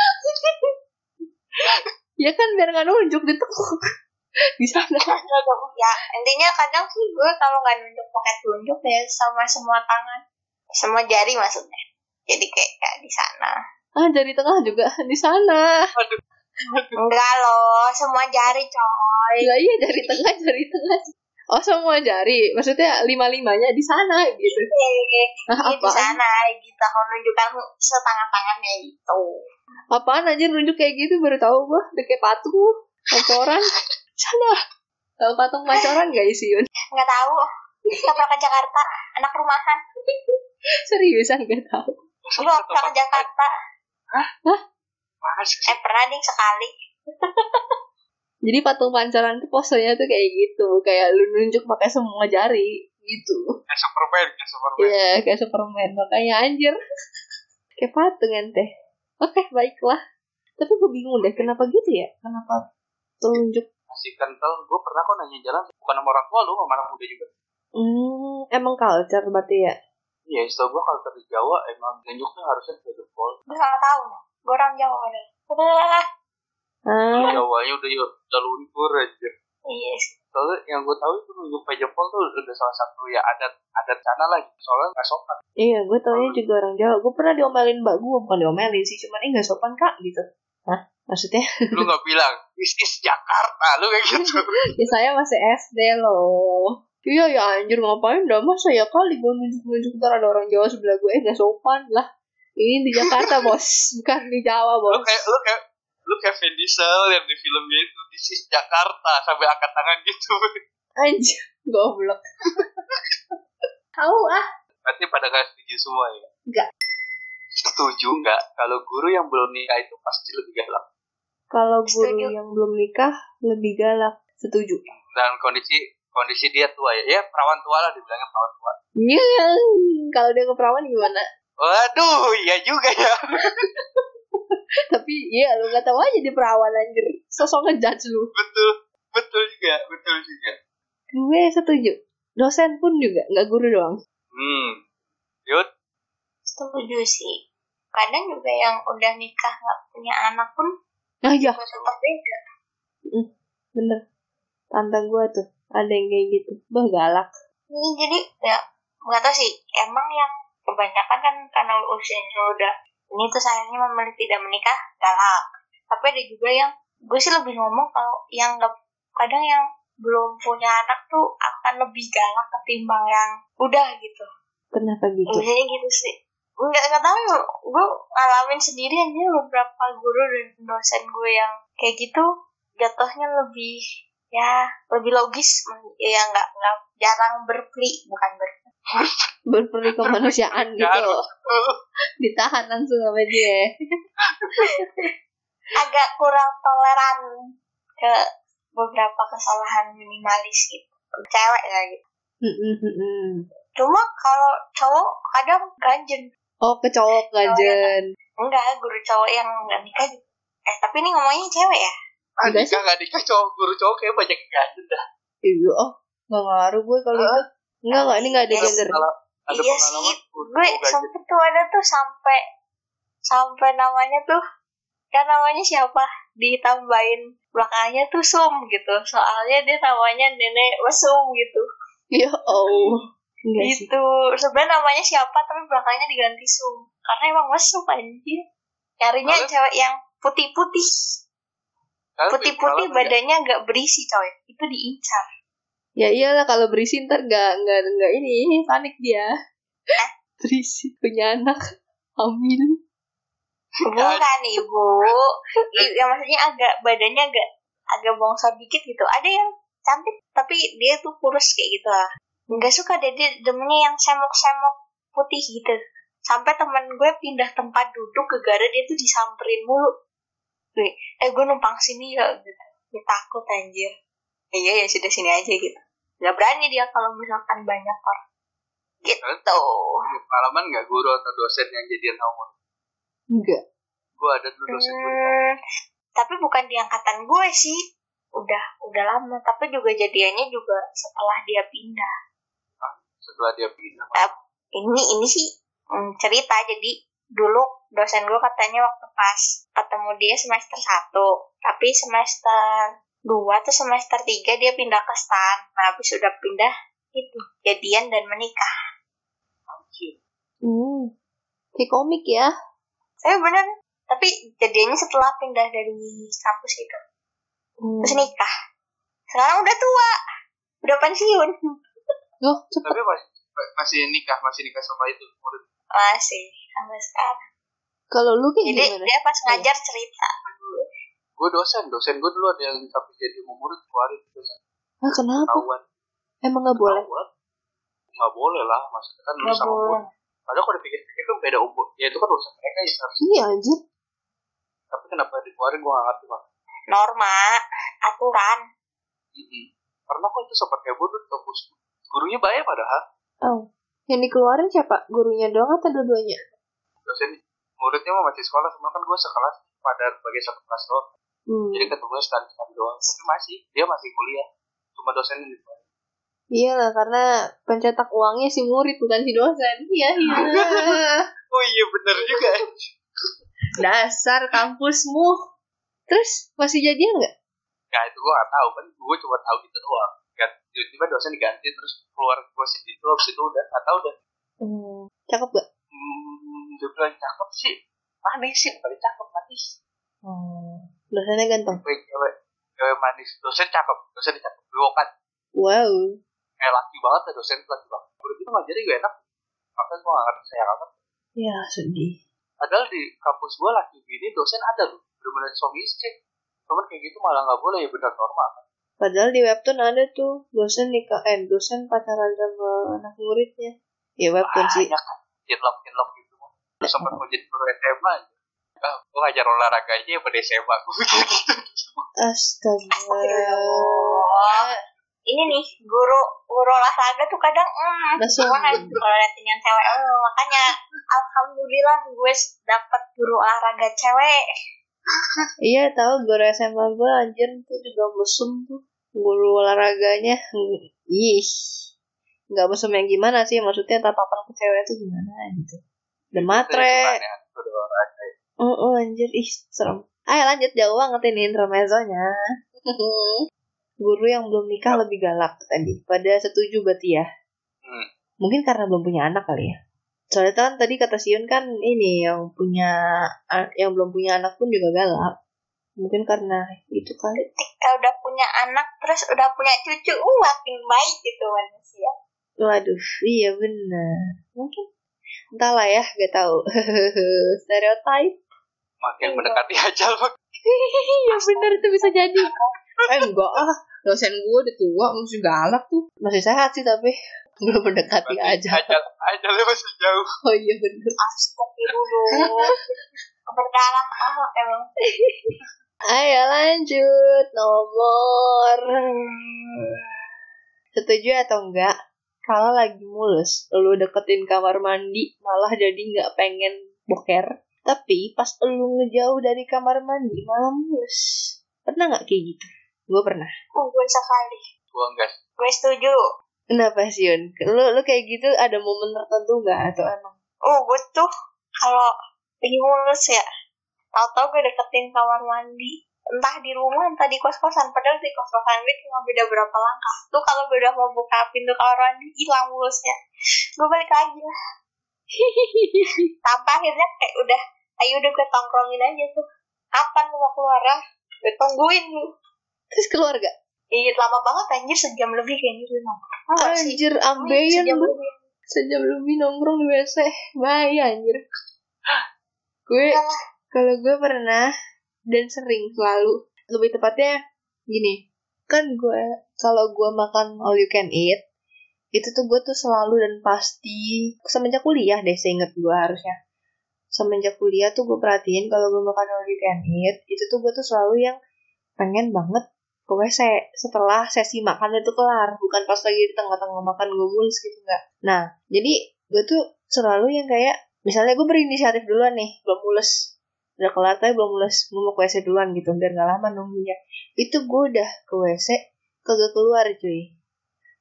[SPEAKER 1] Ya kan biar nggak nunjuk ditekuk. (laughs) Di sana.
[SPEAKER 2] Enggak dong.
[SPEAKER 3] Ya, intinya kadang sih gue kalau nggak nunduk pakai telunjuk ya sama semua tangan. Semua jari maksudnya. Jadi kayak ya, di sana.
[SPEAKER 1] Ah, jari tengah juga di sana.
[SPEAKER 2] Aduh.
[SPEAKER 3] Enggak loh, semua jari coy.
[SPEAKER 1] Lah iya jari tengah, jari tengah. Oh, semua jari. Maksudnya lima-limanya di sana gitu.
[SPEAKER 3] Iya,
[SPEAKER 1] Nah,
[SPEAKER 3] di
[SPEAKER 1] apaan?
[SPEAKER 3] sana gitu. Kalau nunjukkan setangan-tangannya gitu.
[SPEAKER 1] Apaan aja nunjuk kayak gitu baru tahu gua udah kayak patung
[SPEAKER 3] (laughs)
[SPEAKER 1] macoran sana tahu patung macoran gak Yun (laughs)
[SPEAKER 3] Nggak tahu. Kita pernah ke Jakarta, anak rumahan.
[SPEAKER 1] seriusan gak tahu
[SPEAKER 3] Gue pernah ke Jakarta.
[SPEAKER 2] Mas, gitu.
[SPEAKER 3] Eh, pernah nih sekali.
[SPEAKER 1] jadi patung pancoran tuh posenya tuh kayak gitu kayak lu nunjuk pakai semua jari gitu
[SPEAKER 2] kayak Superman, kayak Superman.
[SPEAKER 1] Iya kayak Superman makanya anjir (laughs) kayak patung ente oke baiklah tapi gue bingung deh kenapa gitu ya kenapa telunjuk
[SPEAKER 2] Masih kental, gue pernah kok nanya jalan bukan sama orang tua lu, sama anak muda juga.
[SPEAKER 1] hmm, emang culture berarti ya
[SPEAKER 2] Iya, istilah gue kalau dari Jawa emang nunjuknya harusnya ke jempol.
[SPEAKER 3] Gue nggak tahu. Gue orang Jawa padahal. Udah,
[SPEAKER 1] ah
[SPEAKER 2] Jawanya Iya, udah udah luntur aja.
[SPEAKER 3] Iya,
[SPEAKER 2] Soalnya yang gue tahu itu nunjuk ke jempol tuh udah salah satu ya adat adat sana lah. gitu. Soalnya nggak sopan.
[SPEAKER 1] Iya, gue taunya juga orang Jawa. Gue pernah diomelin mbak gue, bukan diomelin sih, cuman eh gak sopan kak gitu. Hah? Maksudnya?
[SPEAKER 2] Lu nggak bilang, this is Jakarta, lu kayak gitu.
[SPEAKER 1] (laughs) ya saya masih SD loh. Iya ya anjir ngapain dah masa ya kali gue nunjuk-nunjuk ntar ada orang Jawa sebelah gue eh gak sopan lah. Ini di Jakarta (laughs) bos, bukan di Jawa
[SPEAKER 2] lu
[SPEAKER 1] bos.
[SPEAKER 2] kayak lu kayak lu kayak Vin Diesel yang di filmnya itu di is Jakarta sampai angkat tangan gitu (laughs)
[SPEAKER 1] Anjir, goblok. (laughs) Tahu ah.
[SPEAKER 2] berarti pada nggak setuju semua ya
[SPEAKER 1] Nggak.
[SPEAKER 2] setuju nggak kalau guru yang belum nikah itu pasti lebih galak
[SPEAKER 1] Kalau guru
[SPEAKER 3] Setuju.
[SPEAKER 1] yang belum nikah lebih galak. Setuju.
[SPEAKER 2] dan kondisi kondisi dia tua ya ya perawan tua lah dibilangnya perawan tua
[SPEAKER 1] Iya, kalau dia keperawan gimana? (laughs)
[SPEAKER 2] waduh iya juga ya
[SPEAKER 1] Tapi iya lu gak tahu aja dia perawan anjir. Sosok ngejudge lu.
[SPEAKER 2] betul betul juga betul juga
[SPEAKER 1] Gue setuju. Dosen pun juga, nggak guru doang.
[SPEAKER 2] hmm yud
[SPEAKER 3] setuju sih. Kadang juga yang udah nikah nggak punya anak pun
[SPEAKER 1] Nah ya,
[SPEAKER 3] juga tetap beda.
[SPEAKER 1] bener. Tante gue tuh, ada yang kayak gitu. Bah galak.
[SPEAKER 3] Ini jadi ya nggak tahu sih. Emang yang kebanyakan kan karena usianya udah ini tuh sayangnya memilih tidak menikah galak. Tapi ada juga yang gue sih lebih ngomong kalau yang nggak kadang yang belum punya anak tuh akan lebih galak ketimbang yang udah gitu.
[SPEAKER 1] Kenapa gitu?
[SPEAKER 3] Biasanya gitu sih. Nggak, nggak tahu ya, gue ngalamin sendiri aja beberapa guru dan dosen gue yang kayak gitu jatuhnya lebih ya lebih logis ya nggak nggak jarang berpli bukan berpli
[SPEAKER 1] Berperi (laughs) kemanusiaan gitu loh. (laughs) Ditahan langsung sama dia.
[SPEAKER 3] agak kurang toleran ke beberapa kesalahan minimalis gitu cewek lah gitu
[SPEAKER 1] Mm-mm, mm-mm.
[SPEAKER 3] cuma kalau cowok kadang ganjen
[SPEAKER 1] oh, ke cowok gajen.
[SPEAKER 3] enggak guru cowok yang nggak nikah juga. eh tapi ini ngomongnya cewek ya
[SPEAKER 2] ah
[SPEAKER 1] Enggak
[SPEAKER 2] nikah nggak nikah cowok guru cowok kayak banyak yang ganjen dah
[SPEAKER 1] Iya, oh, nggak ngaruh gue kalau itu. Enggak, enggak, ini nggak ada
[SPEAKER 3] Yes.
[SPEAKER 1] gender.
[SPEAKER 2] Kalau ada
[SPEAKER 3] Iya
[SPEAKER 2] pengalaman
[SPEAKER 3] sih,
[SPEAKER 2] guru
[SPEAKER 3] gue
[SPEAKER 2] ganjen.
[SPEAKER 3] sempet tuh ada tuh sampai sampai namanya tuh kan namanya siapa ditambahin belakangnya tuh sum gitu soalnya dia namanya nenek mesum gitu
[SPEAKER 1] Ya Allah. Enggak Iya sih.
[SPEAKER 3] gitu sebenarnya namanya siapa tapi belakangnya diganti Sum karena emang mesum anjir carinya
[SPEAKER 2] Kalau-
[SPEAKER 3] cewek yang putih-putih
[SPEAKER 2] Kalau-
[SPEAKER 3] putih-putih
[SPEAKER 2] kalau-
[SPEAKER 3] badannya nggak berisi coy itu diincar
[SPEAKER 1] Ya iyalah kalau berisi ntar nggak nggak nggak ini panik dia.
[SPEAKER 3] Eh?
[SPEAKER 1] Berisi punya anak hamil.
[SPEAKER 3] bukan (laughs) ibu I- yang maksudnya agak badannya agak agak bongsor dikit gitu ada yang cantik tapi dia tuh kurus kayak gitu lah nggak suka deh dia demennya yang semok-semok putih gitu sampai teman gue pindah tempat duduk gara dia tuh disamperin mulu gue eh gue numpang sini ya gitu Dia takut anjir iya ya sudah sini aja gitu nggak berani dia kalau misalkan banyak orang gitu
[SPEAKER 2] Punya pengalaman nggak guru atau dosen yang jadian sama murid?
[SPEAKER 1] Enggak.
[SPEAKER 2] Gue ada tuh dosen gue.
[SPEAKER 3] Hmm, tapi bukan di angkatan gue sih. Udah, udah lama. Tapi juga jadiannya juga setelah dia pindah.
[SPEAKER 2] Setelah dia pindah.
[SPEAKER 3] Ini, ini sih hmm, cerita. Jadi dulu dosen gue katanya waktu pas ketemu dia semester 1. Tapi semester 2 atau semester 3 dia pindah ke stan. Nah, habis udah pindah itu jadian dan menikah.
[SPEAKER 1] Hmm. Kayak komik ya.
[SPEAKER 3] Saya bener. Tapi jadiannya setelah pindah dari kampus gitu.
[SPEAKER 1] Hmm.
[SPEAKER 3] Terus nikah. Sekarang udah tua. Udah pensiun.
[SPEAKER 1] Loh, cepet.
[SPEAKER 2] Tapi masih, masih nikah, masih nikah sama itu murid.
[SPEAKER 3] Masih sampai sekarang.
[SPEAKER 1] Kalau lu kayak
[SPEAKER 3] Eh, Jadi
[SPEAKER 1] gimana?
[SPEAKER 3] dia pas ngajar cerita.
[SPEAKER 2] Gue dosen, dosen gue dulu ada yang sampai jadi murid keluarin dosen
[SPEAKER 1] Hah, Ah, kenapa?
[SPEAKER 2] ketahuan.
[SPEAKER 1] Emang nggak boleh?
[SPEAKER 2] Ketahuan. Nggak boleh lah, maksudnya kan lu
[SPEAKER 3] Nggak
[SPEAKER 2] sama
[SPEAKER 3] boleh.
[SPEAKER 2] murid. Padahal kalau dipikir-pikir kan beda umur. Ya itu kan urusan mereka ya harus.
[SPEAKER 1] Iya anjir.
[SPEAKER 2] Tapi kenapa dikeluarin gue nggak ngerti mas.
[SPEAKER 3] Norma, aturan.
[SPEAKER 2] Mm-mm. Karena kok itu sempat heboh tuh di kampus. Gurunya bayar padahal.
[SPEAKER 1] Oh. Yang dikeluarin siapa? Gurunya doang atau dua-duanya?
[SPEAKER 2] Dosen muridnya mah masih sekolah, cuma kan gue sekelas pada sebagai satu kelas doang.
[SPEAKER 1] Hmm.
[SPEAKER 2] Jadi ketemu stand stand doang. Tapi masih, dia masih kuliah. Cuma dosen yang dikeluarin.
[SPEAKER 1] Iya lah, karena pencetak uangnya si murid bukan si dosen. Iya, iya.
[SPEAKER 3] (laughs)
[SPEAKER 2] Oh iya bener juga.
[SPEAKER 1] Dasar kampusmu. Terus masih jadian nggak?
[SPEAKER 2] (laughs) Ya itu gue gak tahu kan, gue cuma tahu gitu doang. Kan tiba-tiba dosen diganti terus keluar gue situ itu habis itu udah atau udah
[SPEAKER 1] Hmm. Cakep gak?
[SPEAKER 2] hmm, dia bilang cakep sih manis sih paling cakep manis
[SPEAKER 1] Hmm. Dosennya ganteng.
[SPEAKER 2] gue cewek cewek manis dosen cakep dosen cakep gue kan
[SPEAKER 1] Wow.
[SPEAKER 2] kayak laki banget ya dosen tuh laki banget udah gitu ngajarin gue enak makanya gue gak ngerti saya apa
[SPEAKER 1] Ya, sedih.
[SPEAKER 2] padahal di kampus gue laki gini dosen ada loh bener-bener suami istri cuman kayak gitu malah gak boleh ya bener normal kan
[SPEAKER 1] Padahal di webtoon ada tuh dosen nikah eh dosen pacaran sama anak muridnya. Ya webtoon sih.
[SPEAKER 2] banyak kan jinlok jinlok gitu terus sempat mau jadi guru SMA aja ah gue ngajar olahraga aja ya pada SMA gue pikir gitu
[SPEAKER 1] Astaga.
[SPEAKER 3] Astagfirullah. Ini nih, guru guru olahraga tuh kadang mm,
[SPEAKER 1] Masuk.
[SPEAKER 3] gimana kalau liatin yang cewek. mm, makanya alhamdulillah gue dapet guru olahraga cewek.
[SPEAKER 1] Iya tahu guru SMA gue anjir tuh juga mesum tuh guru olahraganya. Hmm, Ih, nggak mesum yang gimana sih maksudnya tatapan ke cewek itu gimana gitu. Udah matre.
[SPEAKER 2] Aneh-aneh, guru ya? olahraga
[SPEAKER 1] Oh, oh, anjir ih serem. Ayo lanjut jauh banget ini intermezzonya. guru yang belum nikah lebih galak tadi. Pada setuju berarti ya.
[SPEAKER 2] Hmm.
[SPEAKER 1] Mungkin karena belum punya anak kali ya. Soalnya kan tadi kata Siun kan ini yang punya yang belum punya anak pun juga galak. Mungkin karena itu kali.
[SPEAKER 3] Ketika udah punya anak, terus udah punya cucu, uh, makin baik gitu manusia.
[SPEAKER 1] Waduh, iya bener. Mungkin entahlah ya, gak tahu. (laughs) Stereotype.
[SPEAKER 2] makin mendekati ajal mak
[SPEAKER 1] Iya bener itu bisa jadi. eh enggak ah, dosen gue udah tua masih galak tuh. Masih sehat sih tapi belum mendekati aja.
[SPEAKER 2] ajal ajalnya masih jauh
[SPEAKER 1] (laughs) Oh iya bener.
[SPEAKER 3] Astagfirullah. Berdarah amat emang.
[SPEAKER 1] Ayo lanjut nomor setuju atau enggak kalau lagi mulus lu deketin kamar mandi malah jadi nggak pengen boker tapi pas lu ngejauh dari kamar mandi malah mulus pernah nggak kayak gitu gue pernah
[SPEAKER 3] Uh, gue sekali.
[SPEAKER 2] gue enggak
[SPEAKER 3] Gue setuju.
[SPEAKER 1] kenapa sih Yun lu lu kayak gitu ada momen tertentu nggak atau emang
[SPEAKER 3] Oh, gue tuh kalau lagi mulus ya, tau-tau gue deketin kamar mandi. entah di rumah entah di kos kosan padahal di kos kosan gue cuma beda berapa langkah tuh kalau gue udah mau buka pintu kamar mandi hilang mulusnya gue balik lagi
[SPEAKER 1] (laughs)
[SPEAKER 3] lah tanpa akhirnya kayak udah ayo udah gue tongkrongin aja tuh kapan lu mau keluar ah gue tungguin lu
[SPEAKER 1] Terus keluarga.
[SPEAKER 3] Iya, lama banget anjir sejam lebih kayaknya gue nongkrong. Enggak sih.
[SPEAKER 1] Anjir,
[SPEAKER 3] Iya,
[SPEAKER 1] ambeien
[SPEAKER 3] Oh, sejam
[SPEAKER 1] lu.
[SPEAKER 3] lebih.
[SPEAKER 1] Sejam lebih nongkrong di WC. Bahaya anjir. Gue,
[SPEAKER 3] Enggak lah.
[SPEAKER 1] kalau gue pernah dan sering selalu. Lebih tepatnya gini. Kan gue, kalau gue makan all you can eat, itu tuh gue tuh selalu dan pasti semenjak kuliah deh seinget gue harusnya semenjak kuliah tuh gue perhatiin kalau gue makan all you can eat itu tuh gue tuh selalu yang pengen banget pokoknya saya setelah sesi makan itu kelar bukan pas lagi di tengah-tengah makan gue mulus gitu enggak nah jadi gue tuh selalu yang kayak misalnya gue berinisiatif duluan nih belum mulus udah kelar tapi belum mulus gue mau ke WC duluan gitu biar gak lama nunggunya itu gue udah ke WC kagak keluar cuy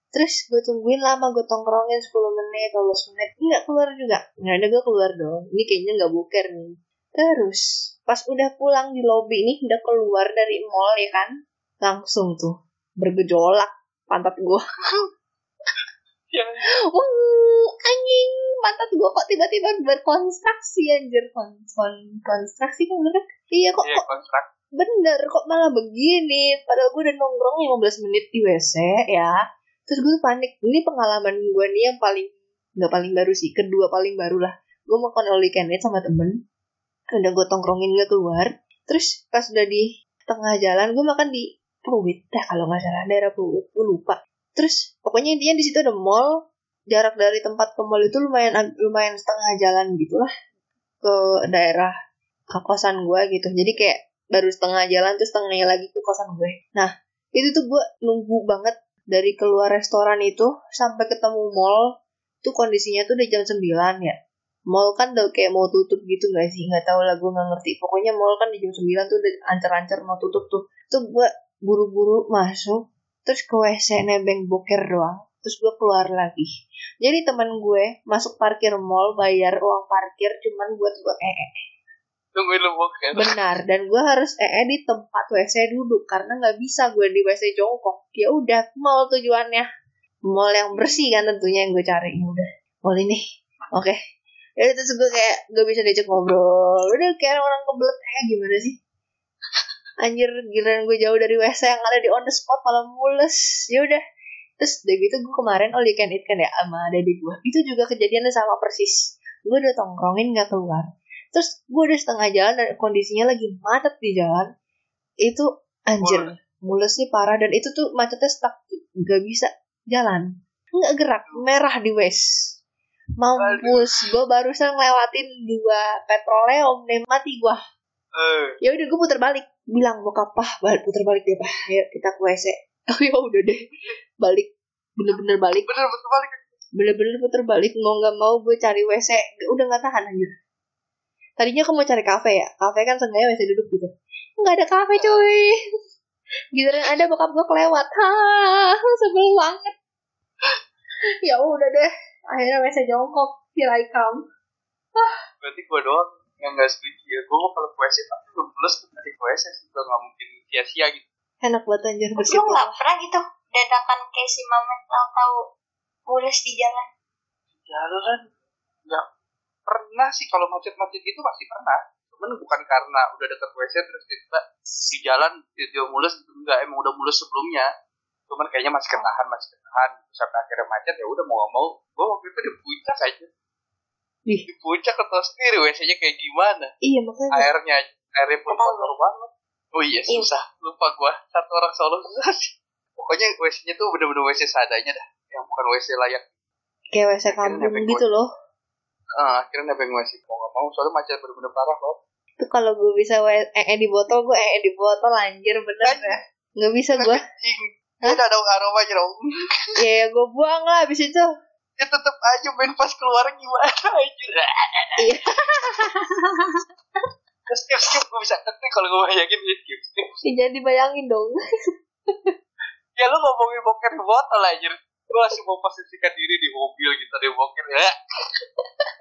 [SPEAKER 1] Terus gue tungguin lama, gue tongkrongin 10 menit, 12 menit. Nggak keluar juga. Nggak ada gue keluar dong. Ini kayaknya nggak buker nih. Terus, pas udah pulang di lobby nih, udah keluar dari mall ya kan. Langsung tuh, bergejolak pantat gue.
[SPEAKER 2] Yang
[SPEAKER 1] Wuh, anjing, pantat gue kok tiba-tiba berkonstruksi anjir. Kon, kon, konstruksi kan bener? Iya kok,
[SPEAKER 2] ya,
[SPEAKER 1] kok
[SPEAKER 2] kontrak
[SPEAKER 1] bener kok malah begini padahal gue udah nongkrong 15 menit di WC ya terus gue panik ini pengalaman gue nih yang paling nggak paling baru sih kedua paling baru lah gue makan all you can eat sama temen udah gue tongkrongin gak keluar terus pas udah di tengah jalan gue makan di Pluit dah kalau nggak salah daerah Pluit gue lupa terus pokoknya intinya di situ ada mall jarak dari tempat ke mall itu lumayan lumayan setengah jalan gitulah ke daerah ke kosan gue gitu jadi kayak baru setengah jalan terus setengahnya lagi ke kosan gue. Nah, itu tuh gue nunggu banget dari keluar restoran itu sampai ketemu mall tuh kondisinya tuh udah jam 9 ya. Mall kan udah kayak mau tutup gitu gak sih? Gak tau lah gue gak ngerti. Pokoknya mall kan di jam 9 tuh udah ancer-ancer mau tutup tuh. Tuh gue buru-buru masuk terus ke WC nebeng boker doang. Terus gue keluar lagi. Jadi teman gue masuk parkir mall bayar uang parkir cuman buat gue ee.
[SPEAKER 2] tungguin lu boker.
[SPEAKER 1] Benar, dan gue harus EE di tempat WC duduk karena nggak bisa gue di WC jongkok. Ya udah, mall tujuannya. Mall yang bersih kan tentunya yang gue cari. Ya udah, mall ini. Oke. Ya udah, terus gue kayak gak bisa diajak ngobrol. Udah kayak orang kebelet kayak gimana sih? Anjir, giliran gue jauh dari WC yang ada di on the spot malah mules. Ya udah. Terus udah gitu gue kemarin all you can eat kan ya sama dede gue. Itu juga kejadiannya sama persis. Gue udah tongkrongin gak keluar terus gue udah setengah jalan dan kondisinya lagi macet di jalan itu anjir mulusnya parah dan itu tuh macetnya stuck gak bisa jalan nggak gerak merah di wes mampus gue barusan ngelewatin dua petroleum deh mati gue
[SPEAKER 2] Eh,
[SPEAKER 1] ya udah gue putar balik bilang bokap pah balik putar balik deh pah ayo kita ke wc (laughs) oh ya udah deh balik bener-bener balik
[SPEAKER 2] bener bener balik.
[SPEAKER 1] bener-bener puter balik mau nggak mau gue cari WC udah nggak tahan anjir tadinya aku mau cari kafe ya kafe kan seenggaknya WC duduk gitu nggak ada kafe cuy (laughs) giliran ada bokap gue kelewat ha sebel banget (laughs) ya udah deh akhirnya WC jongkok here I come
[SPEAKER 2] Berarti gua doang yang gak setuju ya. Gua mau kalau kuesi tapi belum plus dari kuesi sih gua gak mungkin sia-sia gitu.
[SPEAKER 1] enak banget anjir
[SPEAKER 3] Lu
[SPEAKER 1] bersyukur
[SPEAKER 3] nggak pernah gitu dadakan kayak si Mamet tahu-tahu mulus di jalan.
[SPEAKER 2] Jalan Ya, kan nggak pernah sih kalau macet-macet gitu masih pernah. Cuman bukan karena udah deket WC terus tiba di jalan tiba mulus gitu. enggak emang udah mulus sebelumnya. Cuman kayaknya masih ketahan, masih ketahan. Terus sampai akhirnya macet ya udah mau nggak mau. Gua waktu itu di puncak aja.
[SPEAKER 1] Ih.
[SPEAKER 2] Di puncak ketau sendiri WC-nya kayak gimana.
[SPEAKER 1] iya makanya
[SPEAKER 2] airnya airnya pun
[SPEAKER 3] Apa?
[SPEAKER 2] kotor banget oh iya
[SPEAKER 3] Iya.
[SPEAKER 2] susah lupa gua satu orang solo susah sih pokoknya wc nya tuh bener-bener wc seadanya dah yang bukan wc layak
[SPEAKER 1] kayak WC kampung gitu loh
[SPEAKER 2] Eh, akhirnya nebeng wc mau nggak mau soalnya macet bener-bener parah loh
[SPEAKER 1] itu kalau gue bisa WC ee di botol gue ee di botol anjir bener ya nggak bisa gue
[SPEAKER 2] Cing, ada ada aromanya dong (laughs)
[SPEAKER 1] ya gue buang lah abis itu
[SPEAKER 2] ya tetep aja main pas keluar gimana anjir (laughs)
[SPEAKER 1] Iya.
[SPEAKER 2] skip skip gue bisa ngerti kalau gue bayangin ya skip skip
[SPEAKER 1] Ih, Jangan dibayangin dong.
[SPEAKER 2] ya lu ngomongin boker di botol anjir gue langsung mau posisikan diri di mobil gitu di boker ya